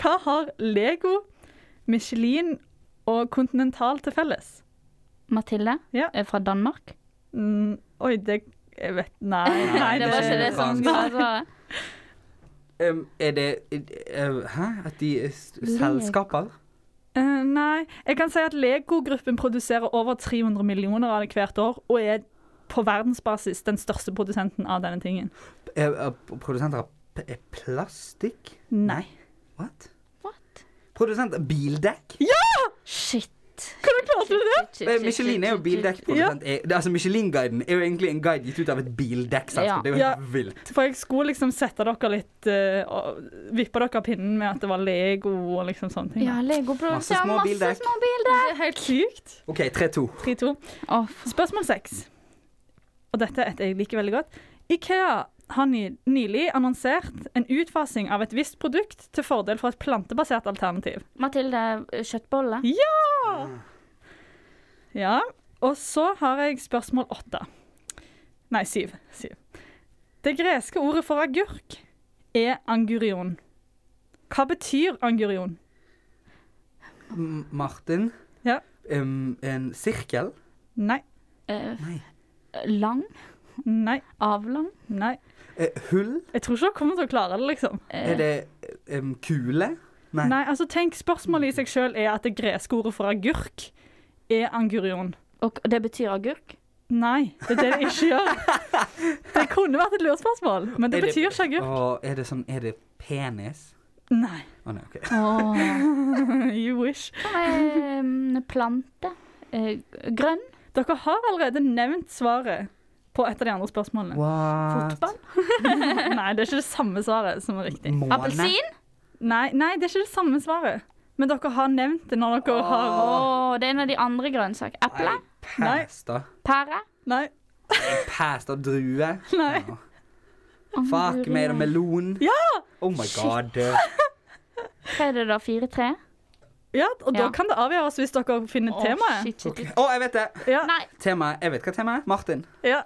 [SPEAKER 2] Hva har Lego, Michelin og Continental til felles?
[SPEAKER 3] Mathilde
[SPEAKER 2] Ja.
[SPEAKER 3] er fra Danmark.
[SPEAKER 2] Mm, oi, det jeg vet Nei. nei
[SPEAKER 3] det var ikke det som
[SPEAKER 1] fransk.
[SPEAKER 3] var svaret.
[SPEAKER 1] Um, er det eh, Hæ? At de er s- selskaper?
[SPEAKER 2] Eh, nei. Jeg kan si at Lego-gruppen produserer over 300 millioner av det hvert år, og er på verdensbasis den største produsenten av denne tingen.
[SPEAKER 1] Eh, eh, Produsenter av p- eh, plastikk?
[SPEAKER 2] Nei.
[SPEAKER 1] What?
[SPEAKER 3] What?
[SPEAKER 1] Produsent av bildekk?
[SPEAKER 3] Shit.
[SPEAKER 2] Hvordan klarte du det?
[SPEAKER 1] Eh, Michelin er jo bildekkprodusent. Eh, det- Altså Michelin-guiden er jo egentlig en guide gitt ut av et
[SPEAKER 3] Ja.
[SPEAKER 1] bildekkselskap. Det er jo
[SPEAKER 2] Ja.
[SPEAKER 1] helt vilt.
[SPEAKER 2] For jeg skulle liksom sette dere litt eh, og Vippe dere av pinnen med at det var Lego og liksom sånne ting.
[SPEAKER 3] Ja, Lego
[SPEAKER 1] Masse
[SPEAKER 3] produserer
[SPEAKER 1] små
[SPEAKER 3] masse
[SPEAKER 1] bildekk.
[SPEAKER 3] små bildekk.
[SPEAKER 2] Det er helt sykt.
[SPEAKER 1] OK, 3-2.
[SPEAKER 2] 3-2.
[SPEAKER 3] Å, f-
[SPEAKER 2] Spørsmål seks. Og dette er et jeg liker veldig godt. Ikea har ny nylig annonsert en utfasing av et visst produkt til fordel for et plantebasert alternativ.
[SPEAKER 3] Mathilde eh, kjøttbolle.
[SPEAKER 2] Ja, og så har jeg spørsmål åtte. Nei, syv. syv. Det greske ordet for agurk er angurion. Hva betyr angurion?
[SPEAKER 1] M- Martin.
[SPEAKER 2] Ja.
[SPEAKER 1] Um, en sirkel?
[SPEAKER 2] Nei,
[SPEAKER 3] Eh,
[SPEAKER 1] Nei.
[SPEAKER 3] lang.
[SPEAKER 2] nei,
[SPEAKER 3] Avlang.
[SPEAKER 2] nei.
[SPEAKER 1] Eh, hull?
[SPEAKER 2] Jeg tror ikke dere kommer til å klare det, liksom.
[SPEAKER 3] Eh,
[SPEAKER 1] Er det em, kule? Nei.
[SPEAKER 2] Nei, altså tenk, spørsmålet i seg sjøl er at det greske ordet for agurk er angurion.
[SPEAKER 3] Og det betyr agurk?
[SPEAKER 2] Nei, det er det det ikke gjør. Det kunne vært et lurespørsmål, men det
[SPEAKER 1] Er det-
[SPEAKER 2] betyr ikke agurk.
[SPEAKER 1] Og er det sånn Er det penis?
[SPEAKER 2] Nei,
[SPEAKER 1] Å nei, OK.
[SPEAKER 3] Åh.
[SPEAKER 2] you wish.
[SPEAKER 3] Hva med mm, plante? Eh, grønn?
[SPEAKER 2] Dere har allerede nevnt svaret på et av de andre spørsmålene.
[SPEAKER 1] What?
[SPEAKER 3] Fotball?
[SPEAKER 2] Nei, det er ikke det samme svaret som er riktig.
[SPEAKER 1] Måne?
[SPEAKER 3] Appelsin?
[SPEAKER 2] Nei, nei, det er ikke det samme svaret. Men dere har nevnt det når dere har
[SPEAKER 3] Å, det er en av de andre grønnsakene. Eple?
[SPEAKER 1] Nei, pass, da.
[SPEAKER 3] Pære?
[SPEAKER 2] Nei.
[SPEAKER 1] Pass, da. Drue.
[SPEAKER 2] Nei.
[SPEAKER 1] Ja. Fuck me, da. Melon.
[SPEAKER 2] Ja!
[SPEAKER 1] Oh my god.
[SPEAKER 3] Hva er det da? Fire-tre?
[SPEAKER 2] Ja, og da
[SPEAKER 3] Ja.
[SPEAKER 2] kan det avgjøres hvis dere finner temaet.
[SPEAKER 3] Shit,
[SPEAKER 1] Å,
[SPEAKER 3] shit, shit.
[SPEAKER 1] jeg vet det!
[SPEAKER 2] Ja.
[SPEAKER 3] Nei.
[SPEAKER 1] Temaet, Jeg vet hva temaet er. Martin.
[SPEAKER 2] Ja.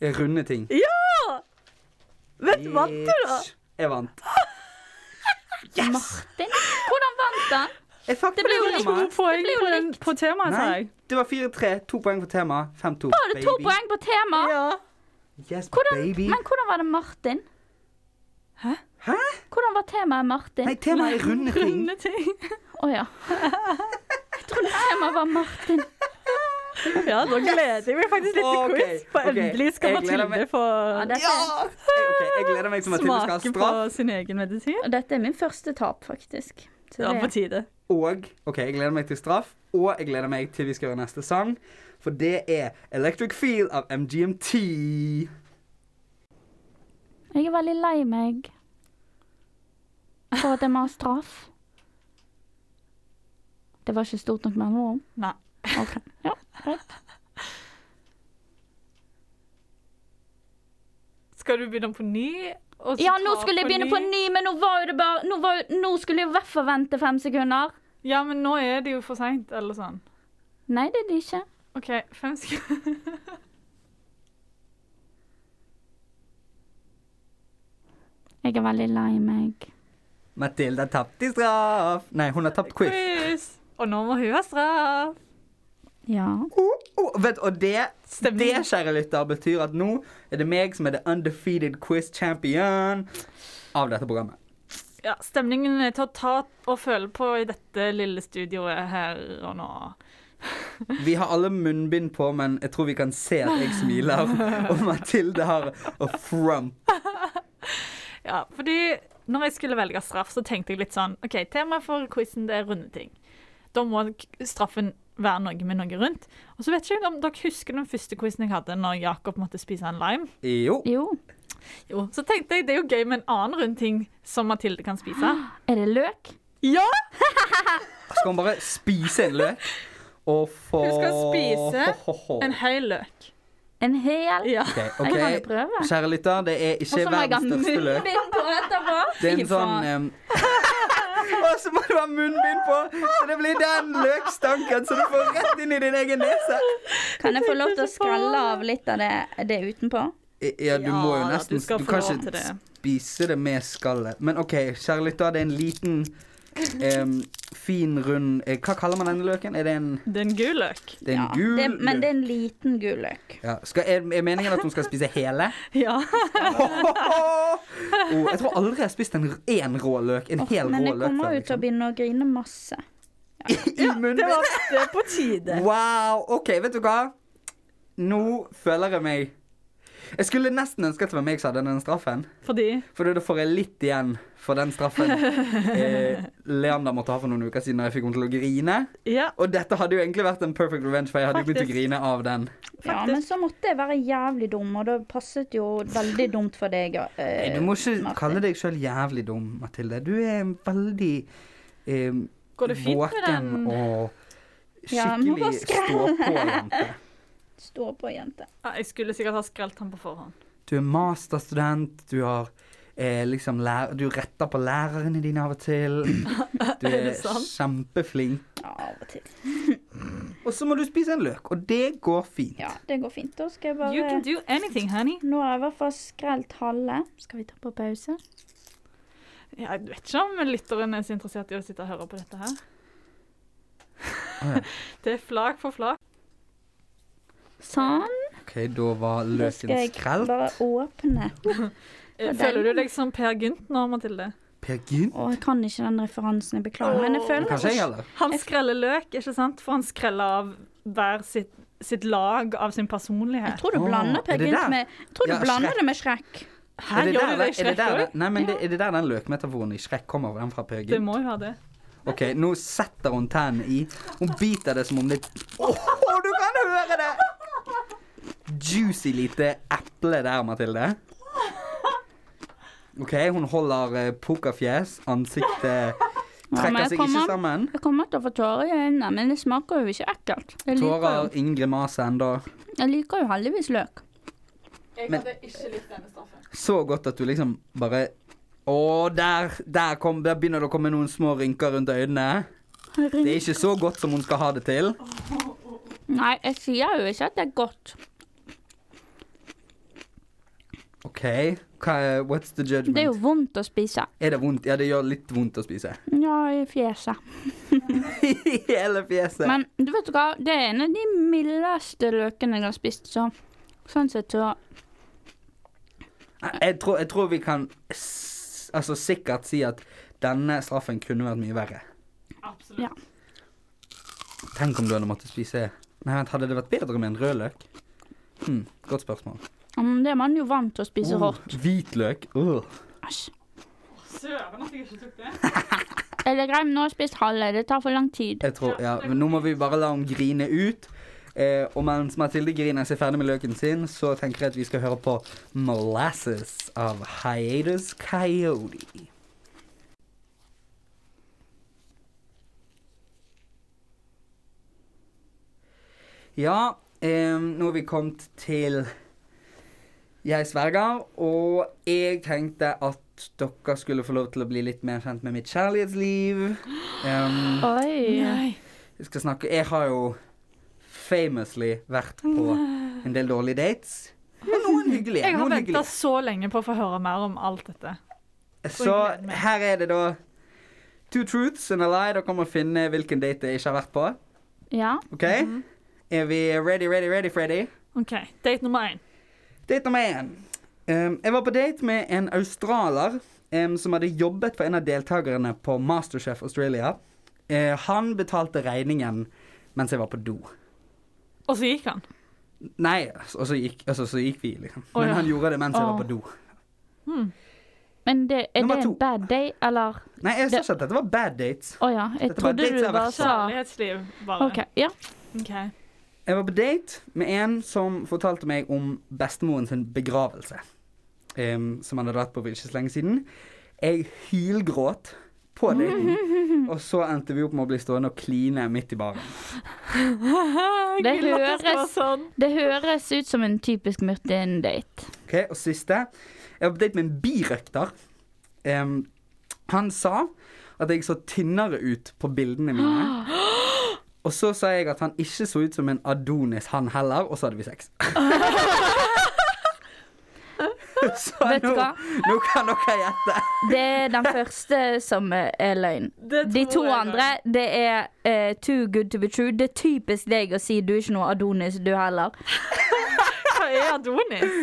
[SPEAKER 1] Runde ting.
[SPEAKER 2] Vet du, vant du, da?
[SPEAKER 1] Bitch. Jeg vant.
[SPEAKER 3] Martin? Hvordan vant han?
[SPEAKER 1] Jeg fucked
[SPEAKER 3] ble jo
[SPEAKER 1] med
[SPEAKER 2] To
[SPEAKER 1] temaet.
[SPEAKER 2] poeng
[SPEAKER 3] Det blir jo
[SPEAKER 2] på, den,
[SPEAKER 3] likt.
[SPEAKER 2] på temaet, sa
[SPEAKER 1] Nei,
[SPEAKER 2] jeg.
[SPEAKER 1] det var 4-3. To poeng for temaet. 5-2.
[SPEAKER 3] Har du to poeng på tema?
[SPEAKER 2] Ja.
[SPEAKER 1] Yes,
[SPEAKER 3] Hvordan,
[SPEAKER 1] baby.
[SPEAKER 3] men hvordan var det Martin?
[SPEAKER 2] Hæ?
[SPEAKER 1] Hæ?
[SPEAKER 3] Hvordan var temaet Martin?
[SPEAKER 1] Nei, temaet er runde ting.
[SPEAKER 2] Runde ting.
[SPEAKER 3] Å ja. Jeg trodde temaet var Martin.
[SPEAKER 2] Ja, da gleder jeg meg faktisk litt til
[SPEAKER 1] Ok,
[SPEAKER 2] quiz. For
[SPEAKER 1] ok.
[SPEAKER 2] endelig skal
[SPEAKER 1] Jeg gleder
[SPEAKER 2] Mathilde
[SPEAKER 1] meg.
[SPEAKER 2] få
[SPEAKER 3] Ja, dette,
[SPEAKER 1] Ja! Ok, jeg gleder meg til Mathilde skal ha
[SPEAKER 2] smake på
[SPEAKER 1] straff.
[SPEAKER 2] sin egen medisin.
[SPEAKER 3] dette er min første tap, faktisk. Så
[SPEAKER 2] Ja,
[SPEAKER 3] det-
[SPEAKER 2] på tide.
[SPEAKER 1] Og ok, jeg gleder meg til straff. Og jeg gleder meg til vi skal gjøre neste sang. For det er Electric Feel av MGMT.
[SPEAKER 3] Jeg er veldig lei meg for at jeg må ha straff. Det var ikke stort nok med andre ord.
[SPEAKER 2] Nei.
[SPEAKER 3] Ok. Ja, greit.
[SPEAKER 2] Skal du begynne på ny? og så
[SPEAKER 3] ja,
[SPEAKER 2] ta
[SPEAKER 3] nå skulle jeg begynne på ny, men nå var jo det bare Nå, var, jo- nå skulle jeg i hvert fall vente fem sekunder.
[SPEAKER 2] Ja, men nå er det jo for seint, eller sånn.
[SPEAKER 3] Nei, det er det ikke.
[SPEAKER 2] OK, fem sekunder.
[SPEAKER 3] Jeg er veldig lei meg.
[SPEAKER 1] Mathilde har tapt i straff. Nei, hun har tapt quiz.
[SPEAKER 2] Quiz. Og nå må hun ha straff.
[SPEAKER 3] Ja.
[SPEAKER 1] Oh, oh, vet, og det,
[SPEAKER 2] Stemmer.
[SPEAKER 1] det, kjære lytter, betyr at nå er det meg som er the undefeated quiz champion av dette programmet.
[SPEAKER 2] Ja, stemningen er til å ta og føle på i dette lille studioet her og nå.
[SPEAKER 1] Vi har alle munnbind på, men jeg tror vi kan se at jeg smiler. Og Mathilde har a frump.
[SPEAKER 2] Ja, fordi når jeg skulle velge straff, så tenkte jeg litt sånn OK, temaet for quizen det er runde ting. Da må k- straffen være noe med noe rundt. Og så vet ikke jeg om dere husker den første quizen jeg hadde når Jakob måtte spise en lime.
[SPEAKER 1] Jo.
[SPEAKER 3] Jo.
[SPEAKER 2] Jo, Så tenkte jeg det er jo gøy med en annen rund ting som Mathilde kan spise.
[SPEAKER 3] Er det løk?
[SPEAKER 2] Ja!
[SPEAKER 1] Skal hun bare spise en løk? Og få
[SPEAKER 2] Hun skal spise
[SPEAKER 1] Ho, ho, ho.
[SPEAKER 2] En høy løk.
[SPEAKER 3] En hel?
[SPEAKER 2] Ja.
[SPEAKER 1] Ok,
[SPEAKER 3] Jeg kan jo
[SPEAKER 1] ok.
[SPEAKER 3] prøve.
[SPEAKER 1] Kjære lytter, det er
[SPEAKER 3] Og
[SPEAKER 1] ikke
[SPEAKER 3] så må jeg ha
[SPEAKER 1] verdens største løk. sånn, eh,
[SPEAKER 3] munnbind på etterpå.
[SPEAKER 1] Det er
[SPEAKER 3] Fy
[SPEAKER 1] en sånn
[SPEAKER 3] faen.
[SPEAKER 1] em, Og så må du ha munnbind på, så det blir den løkstanken som du får rett inn i din egen nese.
[SPEAKER 3] Kan jeg få lov til å skrelle av litt av det, det utenpå?
[SPEAKER 1] Ja, du må jo
[SPEAKER 2] Ja,
[SPEAKER 1] nesten
[SPEAKER 2] du skal
[SPEAKER 1] Du
[SPEAKER 2] få
[SPEAKER 1] kan
[SPEAKER 2] lov til
[SPEAKER 1] ikke
[SPEAKER 2] det.
[SPEAKER 1] spise det med skallet. Men OK, kjære lytter, det er en liten em, fin, rund eh, Hva kaller man denne løken? Er det en,
[SPEAKER 2] Det er en gul løk.
[SPEAKER 1] det er en
[SPEAKER 3] Ja,
[SPEAKER 1] gul
[SPEAKER 3] det, men det
[SPEAKER 1] løk?
[SPEAKER 3] er en liten gul løk.
[SPEAKER 1] Ja. Skal, er, er meningen at hun skal spise hele?
[SPEAKER 2] Ja.
[SPEAKER 1] Oh, jeg tror aldri jeg har spist en, en rå løk. En hel
[SPEAKER 3] Men
[SPEAKER 1] rå
[SPEAKER 3] jeg
[SPEAKER 1] løk.
[SPEAKER 3] kommer
[SPEAKER 1] før,
[SPEAKER 3] jo til å
[SPEAKER 1] liksom.
[SPEAKER 3] begynne å grine masse.
[SPEAKER 1] I munnen.
[SPEAKER 2] Det var det er på tide.
[SPEAKER 1] Wow. OK, vet du hva? Nå føler jeg meg Jeg skulle nesten ønske at det var meg som hadde den straffen.
[SPEAKER 2] Fordi
[SPEAKER 1] For da får jeg litt igjen for den straffen eh, Leander måtte ha for noen uker siden da jeg fikk henne til å grine.
[SPEAKER 2] Ja,
[SPEAKER 1] Og dette hadde jo egentlig vært en perfect revenge, for jeg hadde jo begynt å
[SPEAKER 2] Faktisk.
[SPEAKER 1] grine av den.
[SPEAKER 3] Ja,
[SPEAKER 2] Faktisk.
[SPEAKER 3] men så måtte jeg være jævlig dum, og det passet jo veldig dumt for deg.
[SPEAKER 1] Nei,
[SPEAKER 3] eh,
[SPEAKER 1] Du må ikke
[SPEAKER 3] Martin.
[SPEAKER 1] kalle deg sjøl jævlig dum, Mathilde. Du er en veldig eh,
[SPEAKER 2] går det fint med
[SPEAKER 1] våken
[SPEAKER 2] den?
[SPEAKER 1] og
[SPEAKER 3] Ja, må bare
[SPEAKER 1] skikkelig stå-på-jente.
[SPEAKER 3] Stå på, jente.
[SPEAKER 2] Ja, jeg skulle sikkert ha skrelt den på forhånd.
[SPEAKER 1] Du er masterstudent, du har eh, liksom lær Du retter på lærerne dine av og til. Du
[SPEAKER 2] Er
[SPEAKER 1] er
[SPEAKER 2] det sant?
[SPEAKER 1] kjempeflink.
[SPEAKER 3] Ja, av og til.
[SPEAKER 1] Og så må du spise en løk, og det går fint.
[SPEAKER 3] Ja, det går fint. Da skal jeg
[SPEAKER 2] You
[SPEAKER 3] bare
[SPEAKER 2] can do anything, honey.
[SPEAKER 3] Nå har jeg i hvert fall skrelt halve. Skal vi ta på pause?
[SPEAKER 2] Ja, jeg vet ikke om lytteren er så interessert i å sitte og høre på dette her.
[SPEAKER 1] Å ja.
[SPEAKER 2] Det er flak for flak.
[SPEAKER 3] Sånn.
[SPEAKER 1] OK, da var
[SPEAKER 3] Da
[SPEAKER 1] løken
[SPEAKER 3] skal jeg
[SPEAKER 1] skrelt.
[SPEAKER 3] bare åpne.
[SPEAKER 2] Eh,
[SPEAKER 3] Og den-
[SPEAKER 2] Føler du deg som Per Gynt nå, Mathilde?
[SPEAKER 1] Per Gynt?
[SPEAKER 3] Å, jeg kan ikke den referansen. Jeg beklager. Men jeg føler
[SPEAKER 1] Kanskje jeg, heller.
[SPEAKER 2] Han skreller løk, ikke sant? For han skreller av hver sitt, sitt lag av sin
[SPEAKER 3] Jeg
[SPEAKER 2] personlighet.
[SPEAKER 3] tror du
[SPEAKER 1] Å,
[SPEAKER 3] blander
[SPEAKER 1] er
[SPEAKER 3] Per
[SPEAKER 1] det
[SPEAKER 3] Gynt
[SPEAKER 1] der?
[SPEAKER 3] med Jeg tror du
[SPEAKER 1] Ja,
[SPEAKER 3] blander
[SPEAKER 1] Shrek.
[SPEAKER 3] det med Shrek.
[SPEAKER 2] Her
[SPEAKER 1] er det
[SPEAKER 2] gjør
[SPEAKER 1] der,
[SPEAKER 2] du deg
[SPEAKER 1] er det
[SPEAKER 2] skrekk
[SPEAKER 1] der,
[SPEAKER 2] òg.
[SPEAKER 1] nei, men det, er det der den løkmetaforen i Shrek kommer fra? Den fra Per
[SPEAKER 2] Det
[SPEAKER 1] Gynt?
[SPEAKER 2] må jo være det.
[SPEAKER 1] OK, nå setter hun tennene i. Hun biter det som om det Åh, du kan høre det! Juicy lite eple der, Mathilde. OK, hun holder eh, pokerfjes. Ansiktet
[SPEAKER 3] men
[SPEAKER 1] trekker
[SPEAKER 3] jeg
[SPEAKER 1] seg altså, ikke sånn-
[SPEAKER 3] kommer-
[SPEAKER 1] sammen.
[SPEAKER 3] Jeg kommer til å få tårer i øynene, men det smaker jo ikke ekkelt. Jeg liker jo,
[SPEAKER 1] Tårer, ingen grimase ennå.
[SPEAKER 3] jeg liker jo heldigvis løk.
[SPEAKER 2] Jeg
[SPEAKER 1] Men-
[SPEAKER 2] ikke likt denne straffen.
[SPEAKER 1] Så godt at du liksom bare Å, der, der, kom, der begynner det å komme noen små rynker rundt øynene. Det er ikke så godt som hun skal ha det til.
[SPEAKER 3] Nei, jeg sier jo ikke at det er godt.
[SPEAKER 1] OK, hva, er- what's the
[SPEAKER 3] Det er jo
[SPEAKER 1] judgment?
[SPEAKER 3] vondt å spise.
[SPEAKER 1] Er det vondt? Ja, det gjør litt vondt å spise.
[SPEAKER 3] Ja, i fjeset.
[SPEAKER 1] I hele fjeset.
[SPEAKER 3] Men du vet hva, det er en av de mildeste løkene jeg har spist, så sånn sett så
[SPEAKER 1] Jeg tror, jeg tror vi kan s altså sikkert si at denne straffen kunne vært mye verre.
[SPEAKER 2] Absolutt.
[SPEAKER 3] Ja.
[SPEAKER 1] Tenk om du hadde måttet spise Nei, vent, hadde det vært bedre med en rød løk? Hm, godt spørsmål.
[SPEAKER 3] mm, Det er man jo vant til å spise
[SPEAKER 1] Uh,
[SPEAKER 3] rått.
[SPEAKER 1] hvitløk. Uh.
[SPEAKER 3] Æsj.
[SPEAKER 2] Søren at jeg ikke tok det.
[SPEAKER 3] Er det greit? Nå har jeg spist halve. Det tar for lang tid.
[SPEAKER 1] Jeg tror, ja, men Nå må vi bare la henne grine ut. Eh, og mens Mathilde griner seg ferdig med løken sin, så tenker jeg at vi skal høre på Molasses av Hiatus Coyote. Ja, eh, nå er vi kommet til Jeg sverger, og jeg tenkte at dere skulle få lov til å bli litt mer kjent med mitt kjærlighetsliv. Um,
[SPEAKER 3] Oi.
[SPEAKER 2] Nei.
[SPEAKER 1] jeg skal snakke Jeg har jo famously vært på en del dårlige dates. Men noen hyggelige.
[SPEAKER 2] Jeg har
[SPEAKER 1] Noen
[SPEAKER 2] venta
[SPEAKER 1] hyggelige.
[SPEAKER 2] så lenge på å få høre mer om alt dette.
[SPEAKER 1] Så her er det da Two truths and a lie. Dere må finne hvilken date jeg ikke har vært på.
[SPEAKER 3] Ja.
[SPEAKER 1] OK?
[SPEAKER 2] Mhm.
[SPEAKER 1] Er vi ready, ready, ready, Freddy?
[SPEAKER 2] OK, date nummer én.
[SPEAKER 1] Date nummer én. Um, jeg var på date med en australer um, som hadde jobbet for en av deltakerne på Masterchef Australia. Eh, han betalte regningen mens jeg var på do.
[SPEAKER 2] Og så gikk han.
[SPEAKER 1] Nei, og så gikk, altså, så gikk vi, liksom.
[SPEAKER 2] Å,
[SPEAKER 1] Men
[SPEAKER 2] ja.
[SPEAKER 1] han gjorde det mens jeg var
[SPEAKER 3] Å.
[SPEAKER 1] på do.
[SPEAKER 2] Hmm.
[SPEAKER 3] Men det, er
[SPEAKER 1] Nummer
[SPEAKER 3] det
[SPEAKER 1] to.
[SPEAKER 3] en bad day, eller?
[SPEAKER 1] Nei, jeg sa
[SPEAKER 3] Det-
[SPEAKER 1] ikke at dette var bad dates.
[SPEAKER 3] Å ja. Jeg
[SPEAKER 1] Dette var
[SPEAKER 3] trodde
[SPEAKER 1] dates
[SPEAKER 3] du
[SPEAKER 1] jeg har
[SPEAKER 3] bare
[SPEAKER 1] vært på.
[SPEAKER 3] sa
[SPEAKER 2] Kjærlighetsliv, bare.
[SPEAKER 3] OK. Ja.
[SPEAKER 2] OK.
[SPEAKER 1] Jeg var på date med en som fortalte meg om bestemoren sin begravelse. em, som han hadde vært på for ikke så lenge siden. Jeg hylgråt på daten. Og så endte vi opp med å bli stående og kline midt i baren.
[SPEAKER 3] Det
[SPEAKER 2] Jeg vil at skal være
[SPEAKER 3] høres-
[SPEAKER 2] sånn.
[SPEAKER 3] Det høres ut som en typisk Murtin-date.
[SPEAKER 1] Ok, Og siste. Jeg var på date med en birøkter. Em, han sa at jeg så tynnere ut på bildene mine. Og så sa jeg at han ikke så ut som en Adonis, han heller, og så hadde vi sex. så
[SPEAKER 3] Vet du
[SPEAKER 1] nå,
[SPEAKER 3] hva?
[SPEAKER 1] nå kan dere gjette.
[SPEAKER 3] Det er den første som eh, er løgn.
[SPEAKER 2] Det
[SPEAKER 3] De
[SPEAKER 2] tror
[SPEAKER 3] to
[SPEAKER 2] jeg også.
[SPEAKER 3] andre, det er eh, too good to be true. Det er typisk deg å si du er ikke noe Adonis, du heller.
[SPEAKER 2] Hva er Adonis?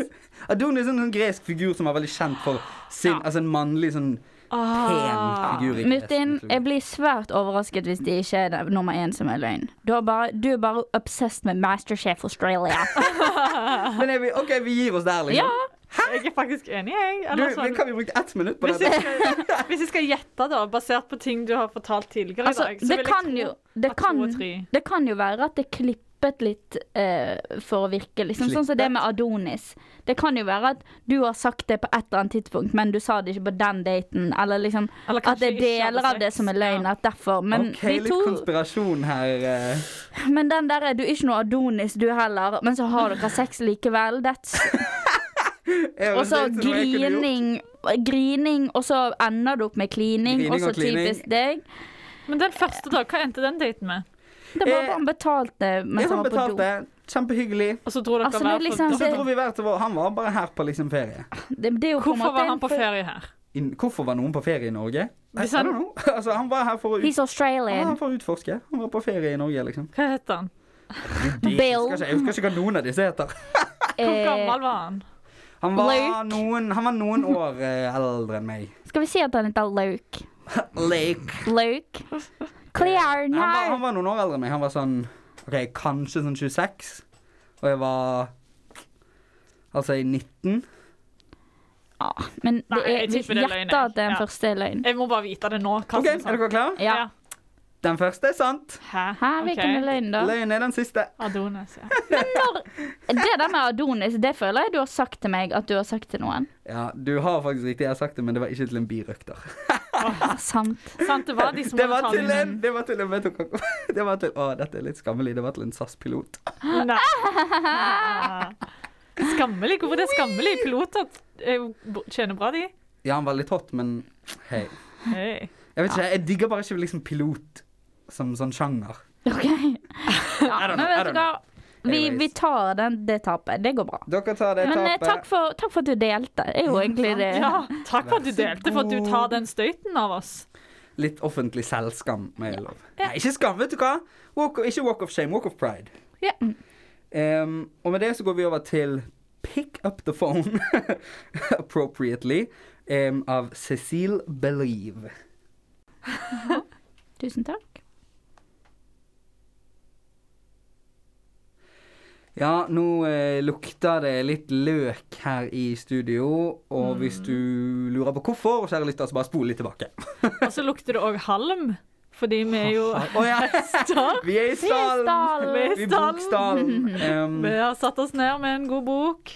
[SPEAKER 1] Adonis er en sånn gresk figur som var veldig kjent for sin Altså en mannlig sånn
[SPEAKER 2] Ah.
[SPEAKER 1] pen figur. i
[SPEAKER 3] Murtin,
[SPEAKER 1] gresk mytologi.
[SPEAKER 3] Ah. jeg blir svært overrasket hvis det ikke er det nummer én som er løgn. Du er bare, du er bare obsessed med Masterchef Australia.
[SPEAKER 1] Men er vi, OK, vi gir oss der,
[SPEAKER 3] Ja,
[SPEAKER 1] liksom.
[SPEAKER 2] Jeg er faktisk enig, jeg.
[SPEAKER 1] Du,
[SPEAKER 2] Eller sånn,
[SPEAKER 1] men kan vi bruke ett minutt på
[SPEAKER 2] hvis, jeg
[SPEAKER 1] dette?
[SPEAKER 2] skal, hvis jeg skal gjette, da, basert på ting du har fortalt tidligere
[SPEAKER 3] altså,
[SPEAKER 2] i dag, så
[SPEAKER 3] det
[SPEAKER 2] vil jeg
[SPEAKER 3] kan
[SPEAKER 2] tro
[SPEAKER 3] jo det
[SPEAKER 2] at to
[SPEAKER 3] kan,
[SPEAKER 2] og tre.
[SPEAKER 3] det kan jo være at det er klippet litt eh, for å virke, liksom. Sånn som det med Adonis. Det kan jo være at du har sagt det på et eller annet tidspunkt, men du sa det ikke på den daten, eller liksom
[SPEAKER 2] Eller
[SPEAKER 3] At det
[SPEAKER 2] kanskje
[SPEAKER 3] er
[SPEAKER 2] ikke hadde
[SPEAKER 3] deler av det
[SPEAKER 2] sex.
[SPEAKER 3] som er løgn,
[SPEAKER 2] Ja.
[SPEAKER 3] at derfor. Men
[SPEAKER 1] OK,
[SPEAKER 3] vi
[SPEAKER 1] litt
[SPEAKER 3] to
[SPEAKER 1] konspirasjon her. eh.
[SPEAKER 3] Men den der er du ikke noe Adonis, du heller, men så har dere sex likevel. That's
[SPEAKER 1] Jeg
[SPEAKER 3] Og
[SPEAKER 1] vet
[SPEAKER 3] så
[SPEAKER 1] ikke hva jeg kunne gjort.
[SPEAKER 3] grining, grining, og så ender du opp med klining.
[SPEAKER 1] Grining
[SPEAKER 3] Også
[SPEAKER 1] og klining.
[SPEAKER 3] typisk deg.
[SPEAKER 2] Men den første, da? Hva endte den daten med?
[SPEAKER 3] Det var
[SPEAKER 1] Eh,
[SPEAKER 3] bare han betalte
[SPEAKER 1] Jeg
[SPEAKER 3] mens han
[SPEAKER 1] som
[SPEAKER 3] var på do.
[SPEAKER 1] betalte. Kjempehyggelig.
[SPEAKER 2] Og så dro dere
[SPEAKER 3] Altså, det er
[SPEAKER 2] hver for
[SPEAKER 3] liksom-
[SPEAKER 1] Og så dro vi hver til vår Han var bare her på liksom ferie.
[SPEAKER 3] Det, det er jo på en
[SPEAKER 2] Hvorfor
[SPEAKER 3] måte
[SPEAKER 2] var han
[SPEAKER 3] en
[SPEAKER 2] på
[SPEAKER 3] for-
[SPEAKER 2] ferie her?
[SPEAKER 1] In, hvorfor var noen på ferie i Norge? Nei,
[SPEAKER 2] Vi sa-
[SPEAKER 1] I don't know. altså, han var her for å, ut,
[SPEAKER 3] He's
[SPEAKER 1] han var her
[SPEAKER 3] Australian.
[SPEAKER 1] for å utforske. Han var på ferie i Norge, liksom.
[SPEAKER 2] Hva het han?
[SPEAKER 1] Jeg
[SPEAKER 3] Bill.
[SPEAKER 1] husker ikke, jeg husker ikke hva noen av disse heter.
[SPEAKER 2] Hvor
[SPEAKER 3] Eh,
[SPEAKER 2] gammel var han?
[SPEAKER 1] Han var
[SPEAKER 3] Luke.
[SPEAKER 1] noen, han var noen år eh, eldre enn meg.
[SPEAKER 3] skal vi si at han heter Luke?
[SPEAKER 1] Lake.
[SPEAKER 3] Luke? Clear
[SPEAKER 1] Han var, han
[SPEAKER 3] now!
[SPEAKER 1] var noen år eldre enn meg. Han var sånn OK, kanskje sånn 26. Og jeg var Altså i 19.
[SPEAKER 3] Ah, men det
[SPEAKER 2] Nei,
[SPEAKER 3] er,
[SPEAKER 2] jeg
[SPEAKER 3] vi
[SPEAKER 2] tipper det er løgn,
[SPEAKER 3] gjetter
[SPEAKER 2] jeg.
[SPEAKER 3] at den
[SPEAKER 2] Ja.
[SPEAKER 3] første er løgn.
[SPEAKER 2] Jeg må bare vite det nå. hva
[SPEAKER 1] OK, er
[SPEAKER 2] som sa.
[SPEAKER 1] dere klare?
[SPEAKER 3] Ja.
[SPEAKER 2] Ja.
[SPEAKER 1] Den første er sant.
[SPEAKER 2] Hæ?
[SPEAKER 3] Hæ, hvilken
[SPEAKER 2] Ok.
[SPEAKER 3] er løgn, da?
[SPEAKER 1] Løgn er den siste.
[SPEAKER 2] Adonis, ja.
[SPEAKER 3] Det der med Adonis, det føler jeg du har sagt til meg at du har sagt til noen.
[SPEAKER 1] Ja, du har faktisk riktig, jeg har sagt det, men det var ikke til en birøkter. Ah.
[SPEAKER 3] Sant.
[SPEAKER 2] Sant, det var de som
[SPEAKER 1] Det var
[SPEAKER 2] hadde
[SPEAKER 1] til
[SPEAKER 2] tallene.
[SPEAKER 1] en, det var til en, vet du hva, det var til, å, dette er litt skammelig, det var til en SAS-pilot.
[SPEAKER 2] Nei. Skammelig. Hvorfor det er skammelig? Piloter er jo b- tjener bra, de.
[SPEAKER 1] Ja, han var litt hot, men hei.
[SPEAKER 2] Hei.
[SPEAKER 1] Jeg vet ikke, jeg digger bare ikke liksom pilot som sånn sjanger.
[SPEAKER 3] OK. Ja,
[SPEAKER 1] I don't
[SPEAKER 3] men
[SPEAKER 1] know, I
[SPEAKER 3] vet
[SPEAKER 1] don't
[SPEAKER 3] du hva? Vi,
[SPEAKER 1] Anyways.
[SPEAKER 3] vi tar den, det tapet. Det går bra.
[SPEAKER 1] Dere tar det
[SPEAKER 3] Men eh,
[SPEAKER 1] tapet.
[SPEAKER 3] takk for, takk for at du delte. Det er jo egentlig det.
[SPEAKER 2] Ja, takk for at du delte, for at du tar den støyten av oss.
[SPEAKER 1] Litt offentlig selvskam, må jeg lov. Nei, ikke skam, vet du hva? Walk, ikke walk of shame, walk of pride.
[SPEAKER 3] Ja.
[SPEAKER 1] Mm. Em, og med det så går vi over til Pick Up The Phone, appropriately, em, av Cecile Believe.
[SPEAKER 3] Tusen takk.
[SPEAKER 1] Ja, nå eh, lukter det litt løk her i studio, og hvis du lurer på hvorfor, kjære lytter, så bare spol litt tilbake.
[SPEAKER 2] Og så lukter det òg halm, fordi vi er jo
[SPEAKER 1] Å ja,
[SPEAKER 2] hester.
[SPEAKER 1] vi er i stallen!
[SPEAKER 2] Vi
[SPEAKER 1] Vi bor i stallen. Em,
[SPEAKER 2] Vi har satt oss ned med en god bok.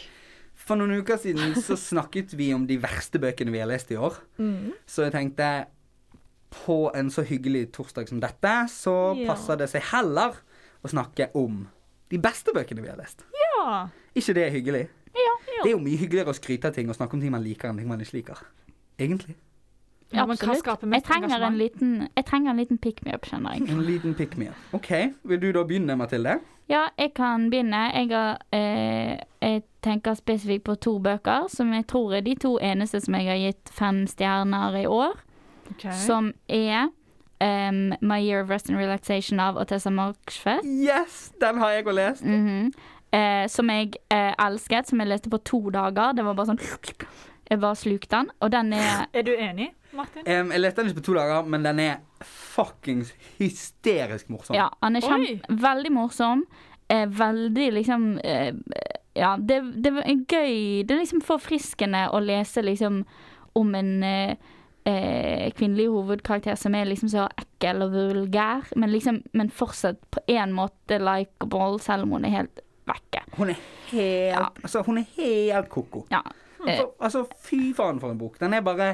[SPEAKER 1] for noen uker siden så snakket vi om de verste bøkene vi har lest i år.
[SPEAKER 3] Mm.
[SPEAKER 1] Så jeg tenkte, på en så hyggelig torsdag som dette, så
[SPEAKER 2] Ja.
[SPEAKER 1] passer det seg heller å snakke om de beste bøkene vi har lest.
[SPEAKER 2] Ja.
[SPEAKER 1] Ikke det er hyggelig?
[SPEAKER 3] Ja,
[SPEAKER 1] Det er jo mye hyggeligere å skryte av ting og snakke om ting man liker enn ting man ikke liker. Egentlig.
[SPEAKER 2] Ja, men hva
[SPEAKER 3] absolutt.
[SPEAKER 2] skaper
[SPEAKER 3] Jeg
[SPEAKER 2] mest
[SPEAKER 3] trenger en
[SPEAKER 2] engasjement?
[SPEAKER 3] liten, jeg trenger en liten pick me up, kjenner jeg.
[SPEAKER 1] En liten pick me up. OK. Vil du da begynne, Mathilde?
[SPEAKER 3] Ja, jeg kan begynne. Jeg, har, eh, jeg tenker spesifikt på to bøker som jeg tror er de to eneste som jeg har gitt fem stjerner i år.
[SPEAKER 2] Ok.
[SPEAKER 3] Som er em, My Year of Rest and Relaxation av Otessa Marchfeldt.
[SPEAKER 1] Yes! Den har jeg òg lest.
[SPEAKER 3] Mhm. eh, som jeg eh, elsket, som jeg leste på to dager. Det var bare sånn Jeg bare slukte den. Og den er
[SPEAKER 2] Er du enig, Martin?
[SPEAKER 1] Em, jeg leste den ikke på to dager, men den er fuckings hysterisk morsom.
[SPEAKER 3] Ja, han er kjem,
[SPEAKER 2] Oi.
[SPEAKER 3] veldig morsom. Eh, veldig liksom eh, Ja, det, det var en gøy Det er liksom forfriskende å lese liksom om en eh, eh, kvinnelig hovedkarakter som er liksom så ekkel og vulgær, men liksom Men fortsatt på en måte likeable, selv om hun er helt vekke.
[SPEAKER 1] Hun er helt
[SPEAKER 3] Ja.
[SPEAKER 1] Altså, hun er helt koko.
[SPEAKER 3] Ja. Eh,
[SPEAKER 1] For, altså, fy faen for en bok. Den er bare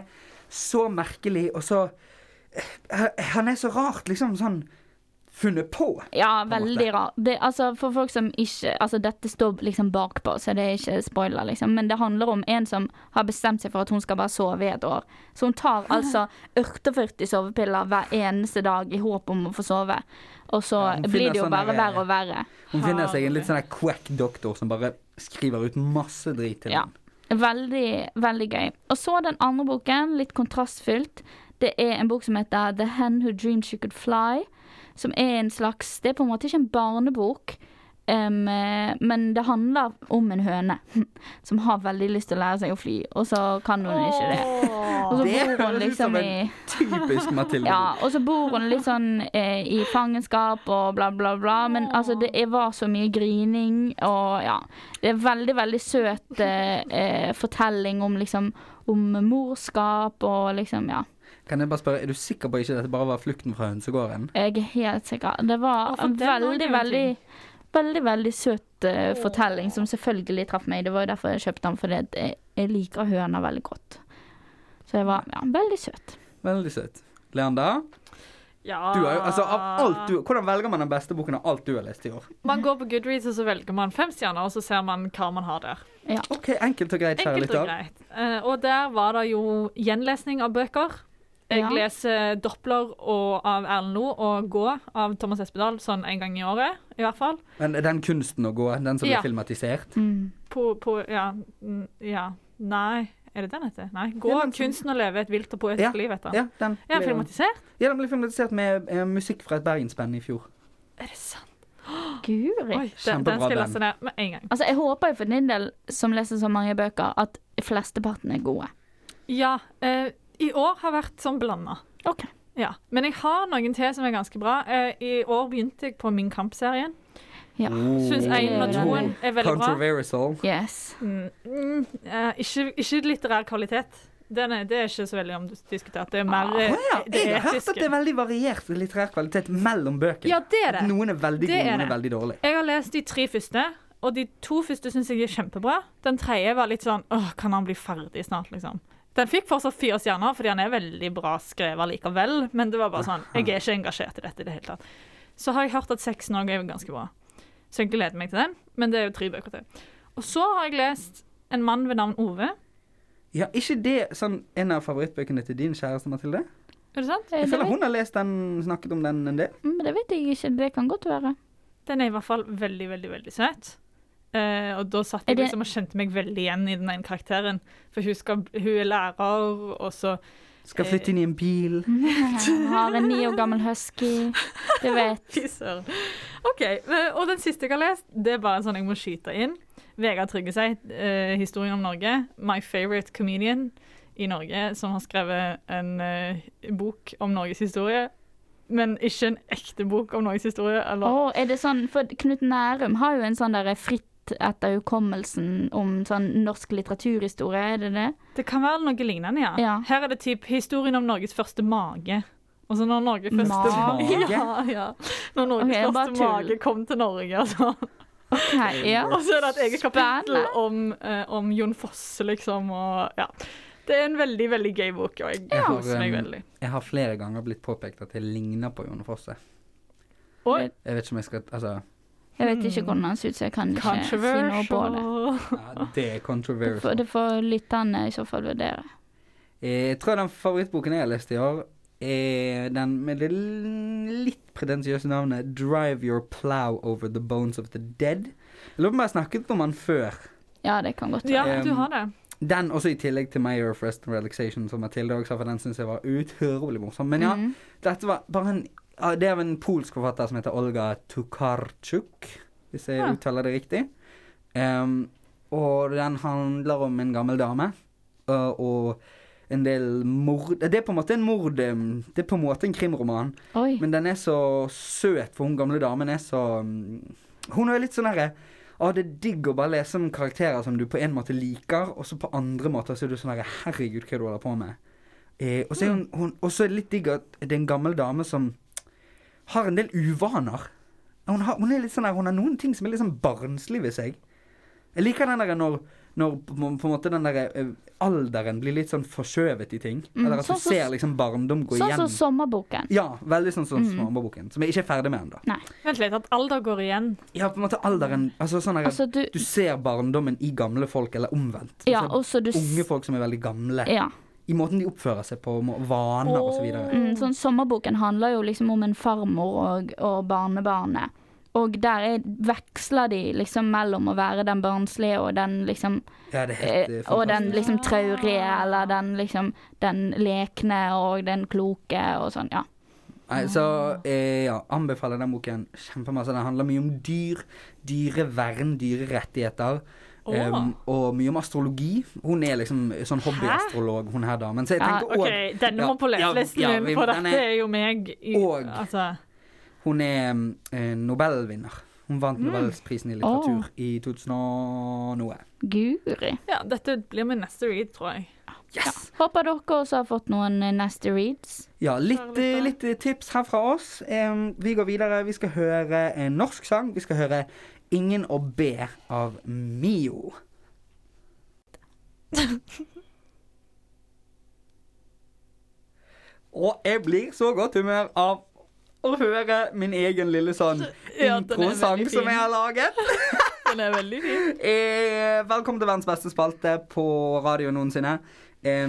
[SPEAKER 1] så merkelig, og så eh, Han er så rart, liksom. Sånn funnet på.
[SPEAKER 3] Ja, veldig rar. Det, altså, for folk som ikke Altså, dette står liksom bakpå, så det er ikke spoiler, liksom. Men det handler om en som har bestemt seg for at hun skal bare sove i et år. Så hun tar altså 48 sovepiller hver eneste dag i håp om å få sove. Og så
[SPEAKER 1] Ja, hun
[SPEAKER 3] blir det
[SPEAKER 1] finner
[SPEAKER 3] jo
[SPEAKER 1] sånne
[SPEAKER 3] bare
[SPEAKER 1] der-
[SPEAKER 3] verre og verre.
[SPEAKER 1] Hun finner seg en
[SPEAKER 2] Herlig.
[SPEAKER 1] litt sånn der quack doktor som bare skriver ut masse drit til
[SPEAKER 3] Ja.
[SPEAKER 1] henne.
[SPEAKER 3] Veldig, veldig gøy. Og så den andre boken, litt kontrastfylt. Det er en bok som heter The Hen Who Dreamed She Could Fly. Som er en slags Det er på en måte ikke en barnebok, em, eh, men det handler om en høne som har veldig lyst til å lære seg å fly, og så kan hun ikke det. Og så
[SPEAKER 1] Det
[SPEAKER 3] bor hun
[SPEAKER 1] høres ut som
[SPEAKER 3] liksom
[SPEAKER 1] en
[SPEAKER 3] i
[SPEAKER 1] typisk Mathilde.
[SPEAKER 3] ja, og så bor hun litt sånn eh, i fangenskap og bla, bla, bla. Men altså, det er- var så mye grining og ja. Det er veldig, veldig søt eh, eh, fortelling om liksom om morskap og liksom, ja.
[SPEAKER 1] Kan jeg bare spørre, er du sikker på at ikke dette bare var flukten fra hønsegården?
[SPEAKER 3] Jeg er helt sikker. Det var
[SPEAKER 2] Å, for den har jeg
[SPEAKER 3] veldig,
[SPEAKER 2] jo
[SPEAKER 3] veldig
[SPEAKER 2] ting.
[SPEAKER 3] Veldig, veldig søt eh, fortelling som selvfølgelig traff meg. Det var jo derfor jeg kjøpte den, fordi at jeg, jeg liker høner veldig godt. Så jeg var ja, veldig søt.
[SPEAKER 1] Veldig søt. Leander,
[SPEAKER 2] Ja.
[SPEAKER 1] du har jo, altså, av alt du, hvordan velger man den beste boken av alt du har lest i år?
[SPEAKER 2] Man går på Goodreads, og så velger man fem stjerner, og så ser man hva man har der.
[SPEAKER 1] Ok, Enkelt og greit, kjære
[SPEAKER 2] Enkelt og
[SPEAKER 1] lytter.
[SPEAKER 2] greit. Eh, og der var det jo gjenlesning av bøker. Jeg
[SPEAKER 3] Ja.
[SPEAKER 2] leser Doppler og av Erlend Loe og Gå av Thomas Espedal sånn en gang i året, i hvert fall.
[SPEAKER 1] Men den kunsten å gå, den som ble
[SPEAKER 2] Ja.
[SPEAKER 1] filmatisert
[SPEAKER 3] Mm.
[SPEAKER 2] På, på ja, mm, ja. Nei, er det den heter? Nei. Gå
[SPEAKER 1] Ja,
[SPEAKER 2] av
[SPEAKER 1] men som-
[SPEAKER 2] kunsten å leve et vilt og poetisk
[SPEAKER 1] Ja,
[SPEAKER 2] liv, heter den.
[SPEAKER 1] Ja, den
[SPEAKER 2] Ja,
[SPEAKER 1] ble,
[SPEAKER 2] filmatisert?
[SPEAKER 1] ja, den ble filmatisert med eh, musikk fra et bergensband i fjor.
[SPEAKER 2] Er det sant?
[SPEAKER 3] Guri.
[SPEAKER 2] Oi, den, den
[SPEAKER 1] Kjempebra
[SPEAKER 2] skal jeg
[SPEAKER 1] band.
[SPEAKER 2] laste ned med en gang.
[SPEAKER 3] Altså, jeg håper jo for din del, som leser så mange bøker, at flesteparten er gode.
[SPEAKER 2] Ja. eh, I år har vært sånn blanda.
[SPEAKER 3] Ok.
[SPEAKER 2] Ja. Men jeg har noen til som er ganske bra. Eh, I år begynte jeg på Min Kamp-serien.
[SPEAKER 3] Ja.
[SPEAKER 1] Oh.
[SPEAKER 2] Syns én og toen er Oh. veldig bra.
[SPEAKER 1] Controversial.
[SPEAKER 3] Yes.
[SPEAKER 2] Mm, mm, eh, ikke, ikke litterær kvalitet. Den er, det er ikke så veldig omdiskutert. Det er mer
[SPEAKER 3] Ah,
[SPEAKER 2] eh,
[SPEAKER 1] Ja,
[SPEAKER 2] det
[SPEAKER 1] jeg har hørt at det
[SPEAKER 2] etiske.
[SPEAKER 1] er veldig variert litterær kvalitet mellom bøkene.
[SPEAKER 2] Ja, det er
[SPEAKER 1] At
[SPEAKER 2] det.
[SPEAKER 1] Noen er veldig
[SPEAKER 2] Det
[SPEAKER 1] gode,
[SPEAKER 2] er
[SPEAKER 1] noen er
[SPEAKER 2] det.
[SPEAKER 1] veldig dårlige.
[SPEAKER 2] Jeg har lest de tre første, og de to første syns jeg er kjempebra. Den tredje var litt sånn åh, kan han bli ferdig snart, liksom. Den fikk fortsatt fire stjerner, fordi han er veldig bra skrevet likevel. Men det var bare sånn, jeg er ikke engasjert i dette i det hele tatt. Så har jeg hørt at seks òg er ganske bra. Så jeg gleder meg til den, men det er jo tre bøker til. Og så har jeg lest En mann ved navn Ove.
[SPEAKER 1] Ja, ikke det sånn en av favorittbøkene til din kjæreste, Mathilde?
[SPEAKER 2] Er det sant?
[SPEAKER 3] Eh,
[SPEAKER 1] Jeg
[SPEAKER 3] Det
[SPEAKER 1] føler
[SPEAKER 3] vet,
[SPEAKER 1] hun har lest den, snakket om den en del.
[SPEAKER 3] mm, det vet jeg ikke. Det kan godt være.
[SPEAKER 2] Den er i hvert fall veldig, veldig, veldig søt. Eh, og da satt
[SPEAKER 3] Er
[SPEAKER 2] jeg
[SPEAKER 3] det-
[SPEAKER 2] liksom og kjente meg veldig igjen i den ene karakteren. For hun, skal, hun er lærer, og så Eh,
[SPEAKER 1] Skal flytte inn i en bil.
[SPEAKER 3] Jeg har en ni år gammel husky. Du vet.
[SPEAKER 2] Fy søren. OK. eh, Og den siste jeg har lest, det er bare en sånn jeg må skyte inn. Vegard Trygge seg, eh, 'Historien om Norge'. My favorite comedian i Norge, som har skrevet en eh, bok om Norges historie. Men ikke en ekte bok om Norges historie. Eller
[SPEAKER 3] Å, er det sånn, for Knut Nærum har jo en sånn der fritt etter hukommelsen om sånn norsk litteraturhistorie, er det det?
[SPEAKER 2] Det kan være noe lignende, ja.
[SPEAKER 3] Ja.
[SPEAKER 2] Her er det typ historien om Norges første mage. Og så når Norge første
[SPEAKER 1] Mage?
[SPEAKER 2] Ja, ja. Når Norges
[SPEAKER 3] Ok, bare
[SPEAKER 2] første
[SPEAKER 3] tull.
[SPEAKER 2] mage kom til Norge, altså.
[SPEAKER 3] Ok, ja.
[SPEAKER 2] Og så er det et eget kapittel
[SPEAKER 3] Spennende.
[SPEAKER 2] om, eh, om Jon Fosse, liksom, og ja. Det er en veldig, veldig gøy bok, og jeg
[SPEAKER 1] Ja.
[SPEAKER 2] koser meg
[SPEAKER 1] Jeg har, um,
[SPEAKER 2] veldig.
[SPEAKER 1] Jeg har flere ganger blitt påpekt at jeg ligner på Jone Fosse.
[SPEAKER 2] Oi,
[SPEAKER 1] Jeg vet ikke om jeg skal Altså,
[SPEAKER 3] Jeg vet ikke hvordan han ser ut, så jeg kan ikke si noe på det.
[SPEAKER 2] controversial.
[SPEAKER 1] ja, det er
[SPEAKER 3] Det får-
[SPEAKER 1] controversial.
[SPEAKER 3] Det får lytterne i så fall vurdere.
[SPEAKER 1] Eh, Jeg tror den favorittboken jeg har lest i år, er den med det l- litt pretensiøse navnet 'Drive Your Plow Over The Bones Of The Dead'. Jeg lurer på om jeg har snakket om den før.
[SPEAKER 3] Ja, det kan godt
[SPEAKER 2] Ja,
[SPEAKER 3] være.
[SPEAKER 2] du har det.
[SPEAKER 1] Den også i tillegg til 'Mayor of Rest and Relaxation', som Mathilde også sa, for den syns jeg var utrolig morsom. Men ja,
[SPEAKER 3] Mm.
[SPEAKER 1] Dette var bare en ja, Det er av en polsk forfatter som heter Olga Tukarczuk, hvis jeg
[SPEAKER 2] Ja.
[SPEAKER 1] uttaler det riktig. Ehm, og den handler om en gammel dame og, og en del mord Det er på en måte en mord em, Det er på en måte en krimroman,
[SPEAKER 3] Oi.
[SPEAKER 1] men den er så søt, for hun gamle damen er så mm, Hun er litt sånn herre Å, det er digg å bare lese om karakterer som du på en måte liker, og så på andre måter så er du sånn herre Herregud, hva er det du holder på med? Eh, og så er hun,
[SPEAKER 3] Mm.
[SPEAKER 1] hun og så er det litt digg at det er en gammel dame som har en del uvaner. Hun har, hun er litt sånn der, hun har noen ting som er litt sånn barnslig ved seg. Jeg liker den der når, når på, på en måte den der eh, alderen blir litt sånn forskjøvet i ting.
[SPEAKER 3] Mm,
[SPEAKER 1] Eller at
[SPEAKER 3] sånn
[SPEAKER 1] du
[SPEAKER 3] som-
[SPEAKER 1] ser liksom barndom gå
[SPEAKER 3] Sånn
[SPEAKER 1] igjen.
[SPEAKER 3] som sommerboken.
[SPEAKER 1] Ja, veldig sånn som
[SPEAKER 3] Mm.
[SPEAKER 1] Småbarnsboken, som jeg ikke er ferdig med ennå.
[SPEAKER 2] Vent litt, at alder går igjen.
[SPEAKER 1] Ja, på en måte alderen Altså sånn der,
[SPEAKER 3] Altså, du
[SPEAKER 1] du ser barndommen i gamle folk, eller omvendt.
[SPEAKER 3] Ja,
[SPEAKER 1] Altså,
[SPEAKER 3] og så du s-
[SPEAKER 1] unge folk som er veldig gamle.
[SPEAKER 3] Ja.
[SPEAKER 1] I måten de oppfører seg på, må- vaner og så videre.
[SPEAKER 3] Mm, sånn Sommerboken handler jo liksom om en farmor og, og barnebarnet. Og der er, veksler de liksom mellom å være den barnslige og den liksom
[SPEAKER 1] Ja, det er
[SPEAKER 3] eh,
[SPEAKER 1] helt eh,
[SPEAKER 3] Og den
[SPEAKER 1] fantastisk.
[SPEAKER 3] liksom traurige, eller den liksom Den lekne og den kloke og sånn, ja.
[SPEAKER 1] Nei, så eh, ja, anbefaler den boken kjempemasse. Den handler mye om dyr, dyrevern, dyrerettigheter.
[SPEAKER 2] Åh.
[SPEAKER 1] em, og mye om astrologi. Hun er liksom sånn hobbyastrolog, hun her damen. Så jeg
[SPEAKER 3] Ja,
[SPEAKER 1] tenker òg
[SPEAKER 2] OK, denne må på
[SPEAKER 1] ja,
[SPEAKER 2] leselisten
[SPEAKER 1] ja,
[SPEAKER 2] min,
[SPEAKER 1] vi-
[SPEAKER 2] for
[SPEAKER 1] den
[SPEAKER 2] dette er jo meg. I,
[SPEAKER 1] Og-
[SPEAKER 2] altså,
[SPEAKER 1] Hun er em, eh, nobelvinner. Hun vant
[SPEAKER 2] Mm.
[SPEAKER 1] Nobelprisen i litteratur i 2000 og noe.
[SPEAKER 3] Guri.
[SPEAKER 2] ja, dette blir min neste read, tror jeg.
[SPEAKER 3] Ja. Håper dere også har fått noen eh, nasty reads.
[SPEAKER 1] Ja, litt, eh, litt eh, tips her fra oss. Em, vi går videre. Vi skal høre en norsk sang. Vi skal høre 'Ingen å be' av Mio. Og jeg blir så godt humør av å høre min egen lille sånn
[SPEAKER 2] Ja, den er
[SPEAKER 1] introsang
[SPEAKER 2] veldig
[SPEAKER 1] som
[SPEAKER 2] fin.
[SPEAKER 1] jeg har laget.
[SPEAKER 2] Den er veldig fin.
[SPEAKER 1] Eh, velkommen til verdens beste spalte på radio noensinne. Em,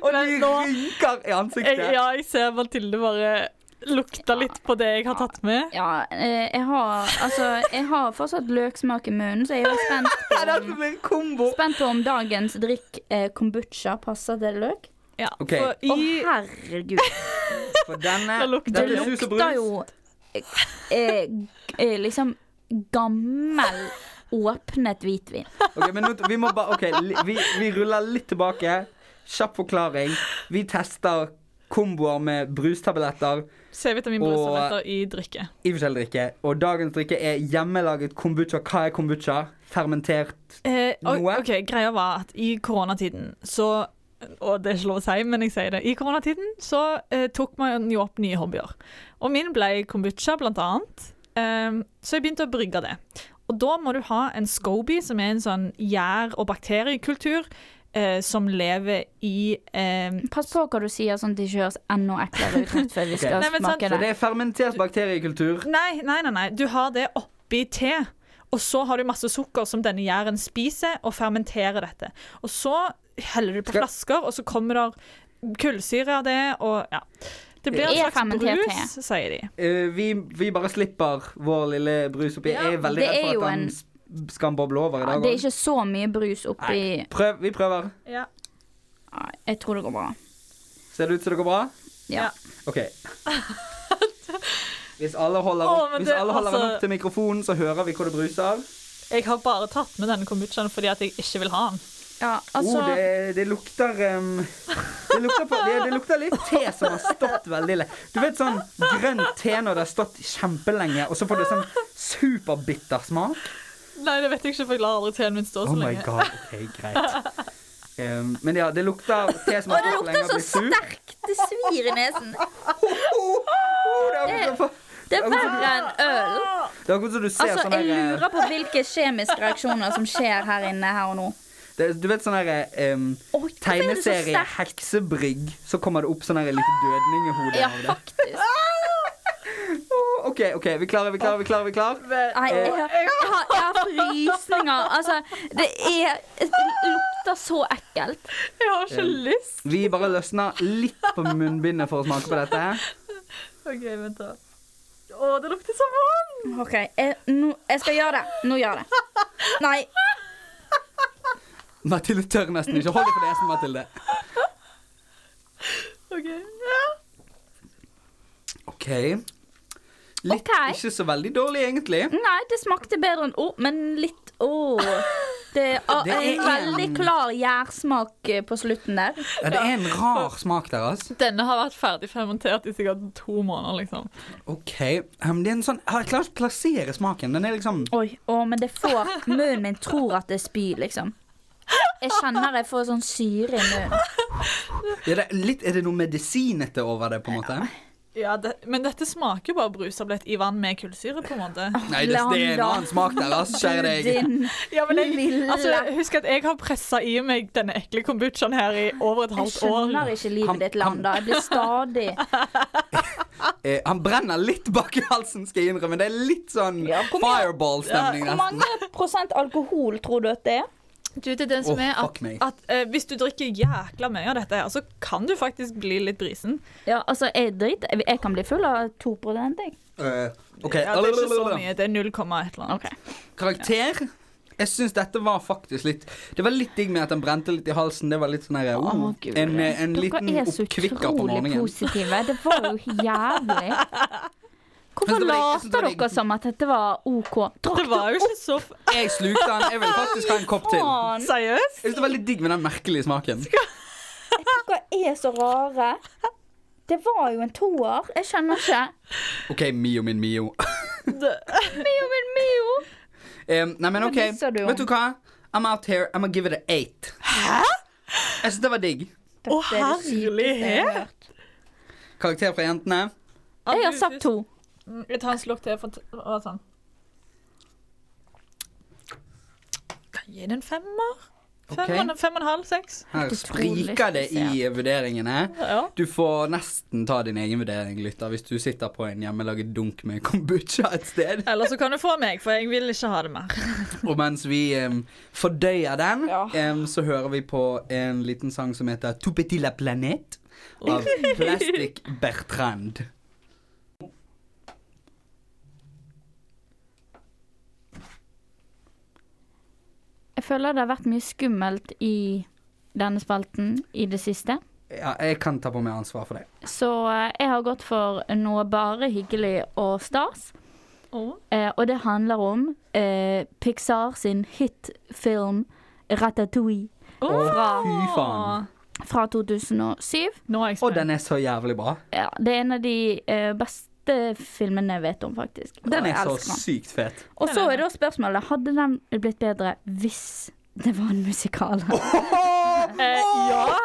[SPEAKER 1] og de
[SPEAKER 2] Men nå-
[SPEAKER 1] rynker i ansiktet.
[SPEAKER 2] Jeg, ja, jeg ser Mathilde bare lukta litt på det jeg har tatt med.
[SPEAKER 3] Ja, eh, jeg har altså Jeg har fortsatt løksmak i munnen, så jeg er jo spent på
[SPEAKER 1] Ja,
[SPEAKER 3] om,
[SPEAKER 1] dette blir en kombo.
[SPEAKER 3] spent på om dagens drikk eh, kombucha passer til løk.
[SPEAKER 2] Ja,
[SPEAKER 1] Ok.
[SPEAKER 2] for
[SPEAKER 3] Å,
[SPEAKER 2] i
[SPEAKER 3] herregud.
[SPEAKER 1] For denne,
[SPEAKER 2] Det lukter-
[SPEAKER 3] Det
[SPEAKER 1] dette er sus og brus.
[SPEAKER 3] lukter jo eh, eh, liksom gammel, åpnet hvitvin.
[SPEAKER 1] Ok, men nå, vi må bare OK, li- vi, vi ruller litt tilbake. Kjapp forklaring. Vi tester komboer med brustabletter
[SPEAKER 2] C-vitaminbrustabletter i drikke.
[SPEAKER 1] i forskjellig drikke. Og dagens drikke er hjemmelaget kombucha. Hva er kombucha? Fermentert
[SPEAKER 2] Eh, og-
[SPEAKER 1] Noe?
[SPEAKER 2] ok, Greia var at i koronatiden så Og det er ikke lov å si, men jeg sier det. I koronatiden så eh, tok man jo opp nye hobbyer. Og min ble kombucha, blant annet. Eh, så jeg begynte å brygge det. Og da må du ha en scoby, som er en sånn gjær- og bakteriekultur eh, som lever i eh,
[SPEAKER 3] Pass på hva du sier, sånn at det ikke høres enda eklere ut rett før vi skal
[SPEAKER 2] Nei, men sant,
[SPEAKER 3] smake
[SPEAKER 1] Så
[SPEAKER 3] det.
[SPEAKER 1] det er fermentert bakteriekultur.
[SPEAKER 2] Nei, nei, nei, nei. Du har det oppi te. Og så har du masse sukker som denne gjæren spiser, og fermenterer dette. Og så heller du på
[SPEAKER 1] Skal-
[SPEAKER 2] flasker, og så kommer der kullsyre av det, og ja. Det blir
[SPEAKER 3] Det er
[SPEAKER 2] en slags
[SPEAKER 3] fermentert
[SPEAKER 2] brus, sier de.
[SPEAKER 1] Eh, vi, vi bare slipper vår lille brus oppi. Jeg er veldig
[SPEAKER 3] det
[SPEAKER 1] redd
[SPEAKER 3] er jo
[SPEAKER 1] for at
[SPEAKER 3] en-
[SPEAKER 1] den sp- skal boble over i
[SPEAKER 3] Ja,
[SPEAKER 1] dag
[SPEAKER 3] det er
[SPEAKER 1] også.
[SPEAKER 3] ikke så mye brus oppi
[SPEAKER 1] Prøv, vi prøver.
[SPEAKER 3] Nei, Jeg tror det går bra.
[SPEAKER 1] Ser det ut som det går bra?
[SPEAKER 3] Ja.
[SPEAKER 1] OK. Hvis alle holder,
[SPEAKER 2] Å,
[SPEAKER 1] opp,
[SPEAKER 2] men
[SPEAKER 1] hvis
[SPEAKER 2] det-
[SPEAKER 1] alle holder den
[SPEAKER 2] altså-
[SPEAKER 1] opp til mikrofonen, så hører vi hvor det bruser.
[SPEAKER 2] Jeg har bare tatt med denne kombuchaen fordi at jeg ikke vil ha den.
[SPEAKER 3] ja altså
[SPEAKER 1] oh, det, det lukter em, det lukter, på, det, det lukter litt te som har stått veldig lenge. Du vet sånn grønn te når det har stått kjempelenge, og så får du sånn superbitter smak.
[SPEAKER 2] Nei, det vet jeg ikke, for jeg lar aldri teen min stå
[SPEAKER 1] Oh
[SPEAKER 2] så
[SPEAKER 1] my
[SPEAKER 2] lenge.
[SPEAKER 1] god. OK, greit. Em, men ja, det lukter te som har stått
[SPEAKER 3] det
[SPEAKER 1] lenge og
[SPEAKER 3] lukter så
[SPEAKER 1] blitt sur.
[SPEAKER 3] sterkt! Det svir i nesen.
[SPEAKER 1] Oh, oh, det er akkurat som-
[SPEAKER 3] Det er verre enn øl.
[SPEAKER 1] det er akkurat som du ser
[SPEAKER 3] Altså,
[SPEAKER 1] sånn
[SPEAKER 3] jeg
[SPEAKER 1] der, eh,
[SPEAKER 3] lurer på hvilke kjemiske reaksjoner som skjer her inne her og nå.
[SPEAKER 1] Det, du vet sånn derre um,
[SPEAKER 3] Oi, hvorfor er det så
[SPEAKER 1] tegneserie
[SPEAKER 3] sterkt?
[SPEAKER 1] Heksebrygg, så kommer det opp sånn derre lite dødning i hodet
[SPEAKER 3] Ja,
[SPEAKER 1] av det.
[SPEAKER 3] faktisk.
[SPEAKER 1] Åh, OK, ok, vi klarer, vi klarer, vi klarer. vi klarer
[SPEAKER 3] Nei,
[SPEAKER 2] eh,
[SPEAKER 3] jeg, har- jeg, har, jeg har frysninger. Altså, det er Det lukter så ekkelt.
[SPEAKER 2] Jeg har ikke
[SPEAKER 1] Eh.
[SPEAKER 2] lyst.
[SPEAKER 1] Vi bare løsner litt på munnbindet for å smake på dette.
[SPEAKER 2] OK, vent da. Å, det lukter som vann!
[SPEAKER 3] OK, jeg, nå, jeg skal gjøre det. Nå gjør jeg det. Nei.
[SPEAKER 1] Mathilde tør nesten ikke. Hold deg for nesen, Mathilde.
[SPEAKER 2] OK. Ja.
[SPEAKER 1] OK. Litt
[SPEAKER 3] Ok.
[SPEAKER 1] ikke så veldig dårlig, egentlig.
[SPEAKER 3] Nei, det smakte bedre enn Å, men litt Å. Det er ah,
[SPEAKER 1] Det er
[SPEAKER 3] en veldig
[SPEAKER 1] en-
[SPEAKER 3] klar gjærsmak eh, på slutten der.
[SPEAKER 1] Ja, det er en rar smak der, altså.
[SPEAKER 2] Denne har vært ferdig fermentert i sikkert to måneder, liksom.
[SPEAKER 1] OK. Um, det er en sånn Jeg klarer ikke å plassere smaken. Den er liksom
[SPEAKER 3] Oi, å, men det får Munnen min tror at det er spy, liksom. Jeg kjenner jeg får sånn syre i munnen.
[SPEAKER 1] ja, det er, litt, er det noe medisinete over det, på en måte?
[SPEAKER 2] Ja, det, men dette smaker jo bare brustablett i vann med kullsyre, på en måte.
[SPEAKER 1] Nei, det, det er en annen smak der, altså. Kjære deg.
[SPEAKER 3] Din
[SPEAKER 2] Ja, men jeg,
[SPEAKER 3] lille.
[SPEAKER 2] altså, husk at jeg har pressa i meg denne ekle kombuchaen her i over et
[SPEAKER 3] Jeg
[SPEAKER 2] halvt år.
[SPEAKER 3] skjønner ikke
[SPEAKER 1] Han-
[SPEAKER 3] livet ditt, Landa. Jeg blir stadig
[SPEAKER 1] Eh, han brenner litt bak i halsen, skal jeg innrømme. Det er litt sånn
[SPEAKER 3] Ja, hvor mye-
[SPEAKER 1] fireball-stemning
[SPEAKER 3] Hvor
[SPEAKER 1] der.
[SPEAKER 3] mange prosent alkohol tror du at det er?
[SPEAKER 2] Du, det er den som
[SPEAKER 1] Åh,
[SPEAKER 2] er
[SPEAKER 1] fuck
[SPEAKER 2] at,
[SPEAKER 1] meg.
[SPEAKER 2] at eh, hvis du drikker jækla mye av dette her, så kan du faktisk bli litt brisen.
[SPEAKER 3] Ja, altså, jeg driter jeg- Jeg kan bli full av 2 jeg.
[SPEAKER 1] Eh, OK.
[SPEAKER 2] Ja, det er ikke så mye. Det er 0, et eller annet.
[SPEAKER 1] Karakter? Jeg syns dette var faktisk litt Det var litt digg med at den brente litt i halsen. Det var litt sånn her, oh,
[SPEAKER 3] Å, Gud.
[SPEAKER 1] En, en liten
[SPEAKER 3] Dere er så
[SPEAKER 1] oppkvikker på
[SPEAKER 3] utrolig
[SPEAKER 1] morgenen.
[SPEAKER 3] positive. Det var jo jævlig.
[SPEAKER 1] Men
[SPEAKER 3] Hvorfor
[SPEAKER 1] det var- jeg synes det
[SPEAKER 3] later
[SPEAKER 1] var-
[SPEAKER 3] dere som at dette var OK?
[SPEAKER 2] Det
[SPEAKER 3] Drakk
[SPEAKER 2] var jo ikke så f
[SPEAKER 1] Jeg slukte den. Jeg vil faktisk ha en kopp til. Jeg
[SPEAKER 3] faen!
[SPEAKER 2] Seriøst?
[SPEAKER 1] synes det var litt digg med den merkelige smaken.
[SPEAKER 3] Dere er så rare. Det var jo en toer. Jeg skjønner ikke.
[SPEAKER 1] OK, Mio min Mio.
[SPEAKER 2] Det-
[SPEAKER 3] Mio, min Mio.
[SPEAKER 1] Em, nei, men OK.
[SPEAKER 3] det sa du jo.
[SPEAKER 1] Vet du hva? I'm out here. I'm gonna give it an eight. Hæ? Jeg syns det var digg.
[SPEAKER 2] Å,
[SPEAKER 3] Dette er det sykeste jeg har hørt.
[SPEAKER 1] Karakter fra jentene.
[SPEAKER 2] Ja,
[SPEAKER 3] Jeg har
[SPEAKER 2] du-
[SPEAKER 3] sagt to.
[SPEAKER 2] Mm, Jeg tar en slurk til for t- å- sånn. Kan jeg gi den en femmer? Fem,
[SPEAKER 1] Ok.
[SPEAKER 2] og en- fem og en halv, seks?
[SPEAKER 1] Her
[SPEAKER 3] Helt utrolig,
[SPEAKER 1] spriker det
[SPEAKER 3] synes
[SPEAKER 1] i vurderingene.
[SPEAKER 2] Ja.
[SPEAKER 1] Du får nesten ta din egen vurdering, lytter, hvis du sitter på en hjemmelaget dunk med kombucha et sted.
[SPEAKER 2] Eller så kan du få meg, for jeg vil ikke ha det mer.
[SPEAKER 1] Og mens vi em, fordøyer den,
[SPEAKER 3] Ja.
[SPEAKER 1] em, så hører vi på en liten sang som heter Tout petit la planète av Plastic Bertrand.
[SPEAKER 3] Jeg føler det har vært mye skummelt i denne spalten i det siste.
[SPEAKER 1] Ja, jeg kan ta på meg ansvar for det.
[SPEAKER 3] Så eh, jeg har gått for noe bare hyggelig og stas. Eh, og det handler om eh, Pixar sin hitfilm Ratatouille
[SPEAKER 1] Å, fy faen.
[SPEAKER 3] fra 2007.
[SPEAKER 2] Nå er jeg
[SPEAKER 1] Og
[SPEAKER 2] spent.
[SPEAKER 1] den er så jævlig bra.
[SPEAKER 3] Ja, det er en av de eh, beste filmene jeg vet om, faktisk. Og
[SPEAKER 1] Den
[SPEAKER 3] jeg
[SPEAKER 1] er så
[SPEAKER 3] elsker den.
[SPEAKER 1] sykt fet.
[SPEAKER 3] Og så er da spørsmålet hadde den blitt bedre hvis det var en musikal.
[SPEAKER 2] Eh, ja.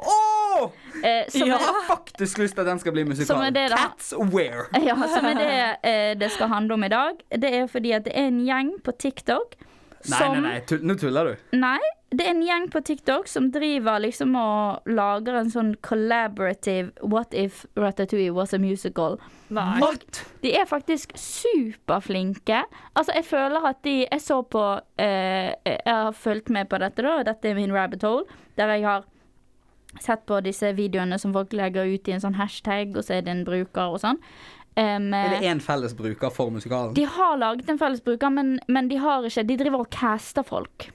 [SPEAKER 1] Åh!
[SPEAKER 3] Eh, som,
[SPEAKER 1] Jeg har faktisk lyst til at den skal bli musikal.
[SPEAKER 3] Som er det, da.
[SPEAKER 1] Cats Where.
[SPEAKER 3] er, ja, som er det eh, det skal handle om i dag. Det er fordi at det er en gjeng på TikTok
[SPEAKER 1] Nei, nei, nei, tull, nå tuller du.
[SPEAKER 3] Nei, det er en gjeng på TikTok som driver liksom og lager en sånn collaborative What if Ratatouille was a musical?
[SPEAKER 2] Nei.
[SPEAKER 1] What?
[SPEAKER 3] De er faktisk superflinke. Altså, jeg føler at de Jeg så på eh, Jeg har fulgt med på dette, da. Dette er min rabbit hole. Der jeg har sett på disse videoene som folk legger ut i en sånn hashtag, og så er det en bruker og sånn. Em, eh,
[SPEAKER 1] Er det én felles bruker for musikalen?
[SPEAKER 3] de har laget en felles bruker, men, men de har ikke De driver og caster folk.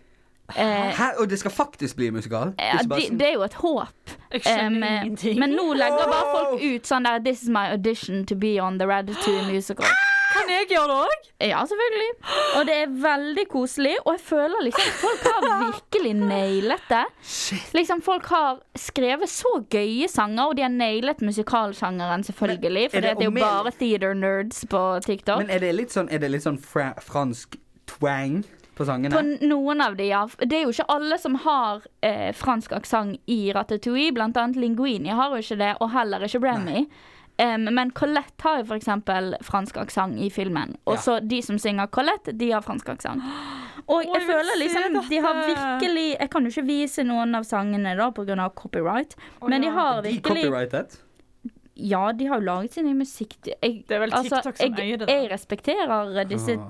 [SPEAKER 3] Eh,
[SPEAKER 1] Hæ? Og det skal faktisk bli musikal?
[SPEAKER 3] ja,
[SPEAKER 1] Ikke bare
[SPEAKER 3] de,
[SPEAKER 1] sånn-
[SPEAKER 3] det er jo et håp.
[SPEAKER 2] Jeg skjønner
[SPEAKER 3] Em,
[SPEAKER 2] ingenting.
[SPEAKER 3] Eh, Men nå legger bare
[SPEAKER 1] Wow!
[SPEAKER 3] folk ut sånn der This is my audition to be on the Ratatouille musical.
[SPEAKER 1] Ah!
[SPEAKER 2] Kan jeg gjøre det òg?
[SPEAKER 3] Ja, selvfølgelig. Og det er veldig koselig. Og jeg føler liksom folk har virkelig nailet det. Liksom Folk har skrevet så gøye sanger, og de har nailet musikalsjangeren, selvfølgelig.
[SPEAKER 1] er
[SPEAKER 3] For det
[SPEAKER 1] det
[SPEAKER 3] er jo
[SPEAKER 1] Omel-
[SPEAKER 3] bare theater nerds på TikTok.
[SPEAKER 1] Men er det litt sånn, er det litt sånn fra, fransk twang på sangene?
[SPEAKER 3] På noen av de, ja. Det er jo ikke alle som har eh, fransk aksent i Ratatouille. Blant annet Linguini har jo ikke det, og heller ikke Remy. Em, men Colette har jo f.eks. fransk aksent i filmen. Og
[SPEAKER 1] Ja.
[SPEAKER 3] så de som synger Colette, de har fransk aksent. Og
[SPEAKER 2] Å,
[SPEAKER 3] jeg
[SPEAKER 2] jeg vil
[SPEAKER 3] føler
[SPEAKER 2] se
[SPEAKER 3] liksom de har
[SPEAKER 2] dette.
[SPEAKER 3] virkelig Jeg kan jo ikke vise noen av sangene da pga. copyright, men de
[SPEAKER 2] ja.
[SPEAKER 3] har
[SPEAKER 1] de
[SPEAKER 3] virkelig
[SPEAKER 1] copyrightet?
[SPEAKER 3] Ja, de har jo laget sin egen musikk jeg, altså,
[SPEAKER 2] Det er vel TikTok som
[SPEAKER 3] jeg,
[SPEAKER 2] eier det, da.
[SPEAKER 3] Jeg respekterer eh, disse
[SPEAKER 1] Ah.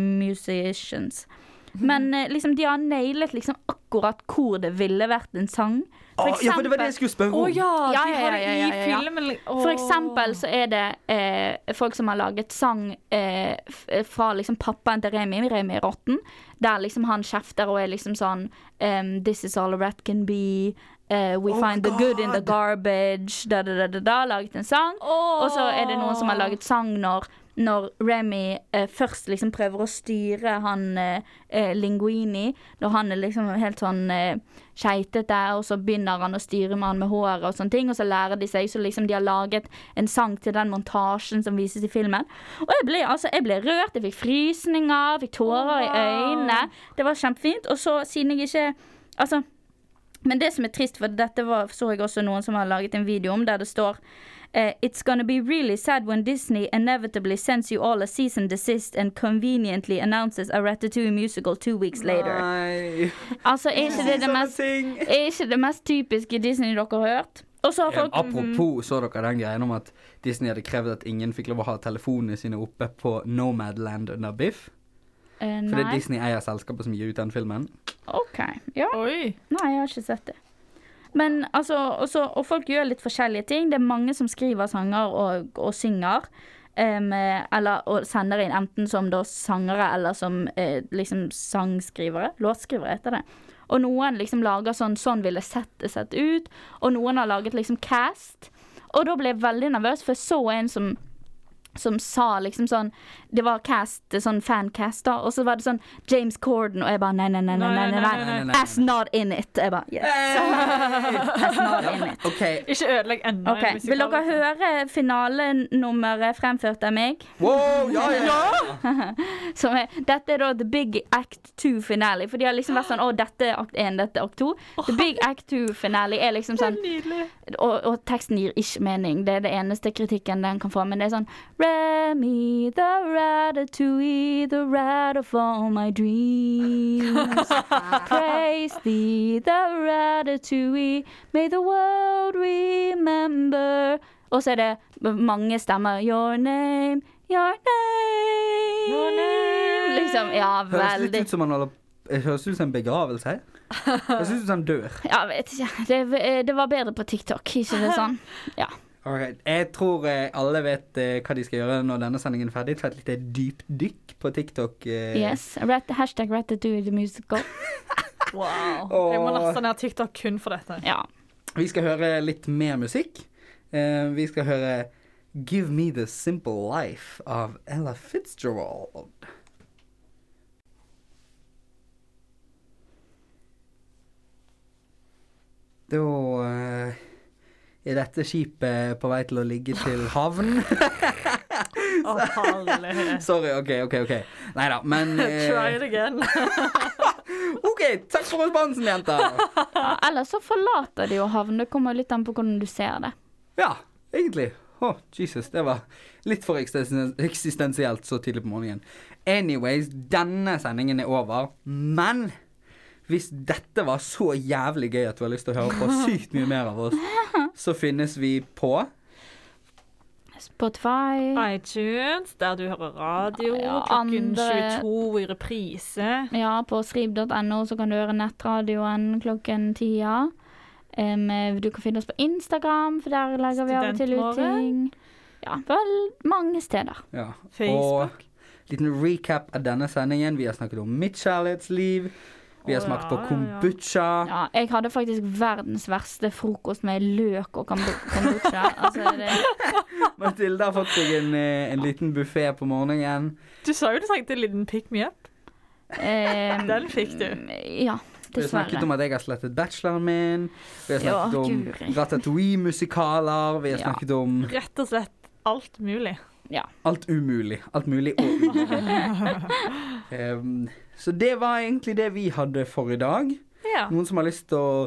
[SPEAKER 3] TikTok-musicians. Men eh, liksom, de har nailet liksom akkurat hvor det ville vært en sang. For
[SPEAKER 1] Å, Ah, ja, for det var det jeg skulle spørre om.
[SPEAKER 2] Å ja,
[SPEAKER 3] Ja,
[SPEAKER 2] de
[SPEAKER 3] ja,
[SPEAKER 2] har det
[SPEAKER 3] ja,
[SPEAKER 2] i
[SPEAKER 3] ja, ja, ja.
[SPEAKER 2] filmen. liksom. Åh.
[SPEAKER 3] For eksempel så er det eh, folk som har laget sang eh, f- fra liksom pappaen til Remi, Remi Rotten, der liksom han kjefter og er liksom sånn ehm, This is all a rat can be. eh, we
[SPEAKER 1] Oh my
[SPEAKER 3] find the good in the
[SPEAKER 1] God.
[SPEAKER 3] garbage. Da, da, da, da, da. Laget en sang.
[SPEAKER 2] Åh.
[SPEAKER 3] Og så er det noen som har laget sang når, når Remy eh, først liksom prøver å styre han eh, eh, Linguini. Når han er liksom helt sånn eh, skeitete, og så begynner han å styre med han med håret og sånne ting. Og så lærer de seg, så liksom de har laget en sang til den montasjen som vises i filmen. Og jeg ble, altså, jeg ble rørt, jeg fikk frysninger, fikk tårer i øynene. Det var kjempefint. Og så siden jeg ikke Altså. Men det som er trist, for dette var, så jeg også noen som har laget en video om, der det står Eh, it's gonna be really sad when Disney inevitably sends you all a cease and desist and conveniently announces a Ratatouille musical two weeks later.
[SPEAKER 1] Nei.
[SPEAKER 3] Altså, er ikke det det
[SPEAKER 1] Sånne
[SPEAKER 3] mest,
[SPEAKER 1] ting.
[SPEAKER 3] er ikke det mest typiske Disney dere har hørt? Og så har
[SPEAKER 1] Eh,
[SPEAKER 3] folk Mhm.
[SPEAKER 1] Apropos, så dere den greien om at Disney hadde krevd at ingen fikk lov å ha telefonene sine oppe på Nomadland under Biff?
[SPEAKER 3] Eh,
[SPEAKER 1] For det er
[SPEAKER 3] Nei.
[SPEAKER 1] Disney eier selskapet som gir ut den filmen.
[SPEAKER 3] OK. Ja.
[SPEAKER 2] Oi.
[SPEAKER 3] Nei, jeg har ikke sett det. Men altså, også, og folk gjør litt forskjellige ting. Det er mange som skriver sanger og, og synger. em, eller og sender inn enten som da sangere eller som eh, liksom sangskrivere. Låtskrivere heter det. Og noen liksom lager sånn 'sånn ville settet sett ut', og noen har laget liksom cast. Og da ble jeg veldig nervøs, for jeg så en som som sa liksom sånn Det var cast, sånn fancast, da. Og så var det sånn James Corden, og jeg bare nei, nei, nei, nei, nei, nei, nei,
[SPEAKER 1] nei, nei, nei.
[SPEAKER 3] That's not in it. Jeg bare yes, that's not in it.
[SPEAKER 1] OK.
[SPEAKER 2] Ikke ødelegg ennå.
[SPEAKER 3] Ok, Vil dere høre finalenummeret fremført av meg?
[SPEAKER 1] Wow, ja, ja, ja.
[SPEAKER 3] Som er, dette er da The Big Act 2-finale. For de har liksom vært sånn Å, dette er akt 1, dette er akt 2. The Big Act 2-finale er liksom sånn
[SPEAKER 2] Nydelig.
[SPEAKER 3] og, og teksten gir ikke mening. Det er det eneste kritikken den kan få. Men det er sånn Remy the ratatouille, the rat of all my dreams. Praise thee the ratatouille, may the world remember. Og så er det mange stemmer. Your name, your name.
[SPEAKER 2] Your name.
[SPEAKER 3] Liksom, ja,
[SPEAKER 1] Høres litt
[SPEAKER 3] veldig
[SPEAKER 1] ut som han holder det Høres ut som en begravelse. Høres ut som han dør.
[SPEAKER 3] Ja, vet ikke. Det, det var bedre på TikTok, ikke det sånn? Ja.
[SPEAKER 1] Alright, Jeg tror eh, alle vet eh, hva de skal gjøre når denne sendingen er ferdig. Ta et lite dypdykk på TikTok. eh.
[SPEAKER 3] Yes. Rat, hashtag Ratatouille the musical.
[SPEAKER 2] Wow.
[SPEAKER 1] Åh.
[SPEAKER 2] Jeg må laste ned TikTok kun for dette.
[SPEAKER 3] Ja.
[SPEAKER 1] Vi skal høre litt mer musikk. Eh, vi skal høre Give Me The Simple Life av Ella Fitzgerald. Da eh, er dette skipet på vei til å ligge til havn.
[SPEAKER 2] Å, herlighet.
[SPEAKER 1] Sorry, OK, OK. ok Nei da, men eh,
[SPEAKER 2] Try it again.
[SPEAKER 1] OK, takk for responsen, jenter.
[SPEAKER 3] ja. Eller så forlater de jo havn. Det kommer litt an på hvordan du ser det.
[SPEAKER 1] Ja, egentlig. Å, Jesus, det var litt for eksisten- eksistensielt så tidlig på morgenen. Anyways, denne sendingen er over, men hvis dette var så jævlig gøy at du har lyst til å høre på sykt mye mer av oss, så finnes vi på
[SPEAKER 3] Spotify
[SPEAKER 2] iTunes, der du hører radio
[SPEAKER 3] Ja,
[SPEAKER 2] klokken
[SPEAKER 3] andre-
[SPEAKER 2] 22 i reprise.
[SPEAKER 3] Ja, på srib.no så kan du høre nettradioen klokken tida. Em, du kan finne oss på Instagram, for der legger vi av og til ut ting.
[SPEAKER 2] Studentmorgen.
[SPEAKER 3] Ja, vel mange steder.
[SPEAKER 1] ja.
[SPEAKER 2] Facebook.
[SPEAKER 1] Og liten recap av denne sendingen. Vi har snakket om mitt kjærlighetsliv. Vi har
[SPEAKER 2] Å,
[SPEAKER 1] smakt på
[SPEAKER 2] ja, ja, ja.
[SPEAKER 1] kombucha.
[SPEAKER 3] Ja, jeg hadde faktisk verdens verste frokost med løk og kambu- kombucha. Altså, det,
[SPEAKER 1] Mathilde har fått seg en, eh, en liten buffé på morgenen.
[SPEAKER 2] Du sa jo du trengte en liten pick me up.
[SPEAKER 3] em,
[SPEAKER 2] Den fikk du.
[SPEAKER 3] Ja,
[SPEAKER 1] Vi har snakket
[SPEAKER 3] dessverre.
[SPEAKER 1] om at jeg har slettet bacheloren min. Vi har snakket
[SPEAKER 3] Ja,
[SPEAKER 1] om
[SPEAKER 3] guri.
[SPEAKER 1] Ratatouille-musikaler. Vi har
[SPEAKER 3] Ja.
[SPEAKER 1] snakket om
[SPEAKER 2] Rett og slett alt mulig.
[SPEAKER 1] alt umulig. Alt mulig og umulig. Em, så det var egentlig det vi hadde for i dag.
[SPEAKER 2] Ja.
[SPEAKER 1] Noen som har lyst til å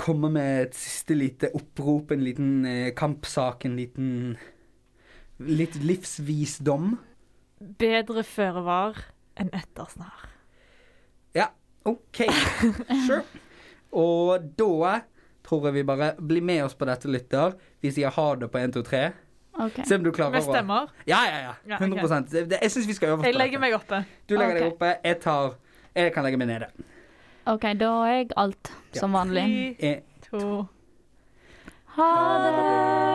[SPEAKER 1] komme med et siste lite opprop, en liten eh, kampsak, en liten Litt livsvisdom?
[SPEAKER 2] Bedre føre var enn etter snar.
[SPEAKER 1] Ja, OK. Sure. Og da tror jeg vi bare Bli med oss på dette, lytter. Vi sier ha det på 1, 2, 3.
[SPEAKER 3] Ok.
[SPEAKER 1] Se om du klarer
[SPEAKER 2] Med
[SPEAKER 1] å
[SPEAKER 2] stemmer.
[SPEAKER 1] Ja, ja,
[SPEAKER 2] Ja,
[SPEAKER 1] ja.
[SPEAKER 2] ok.
[SPEAKER 1] 100 Det- det- Jeg syns vi skal øve oss på
[SPEAKER 2] Jeg legger
[SPEAKER 1] dette.
[SPEAKER 2] meg Ah, oppe.
[SPEAKER 1] Du legger deg
[SPEAKER 3] Ok.
[SPEAKER 1] oppe, jeg tar Jeg kan legge meg nede.
[SPEAKER 3] OK, da er jeg alt, som vanlig.
[SPEAKER 2] Tre,
[SPEAKER 1] Jeg,
[SPEAKER 2] to
[SPEAKER 3] Ha det!
[SPEAKER 2] Ah.
[SPEAKER 1] eh,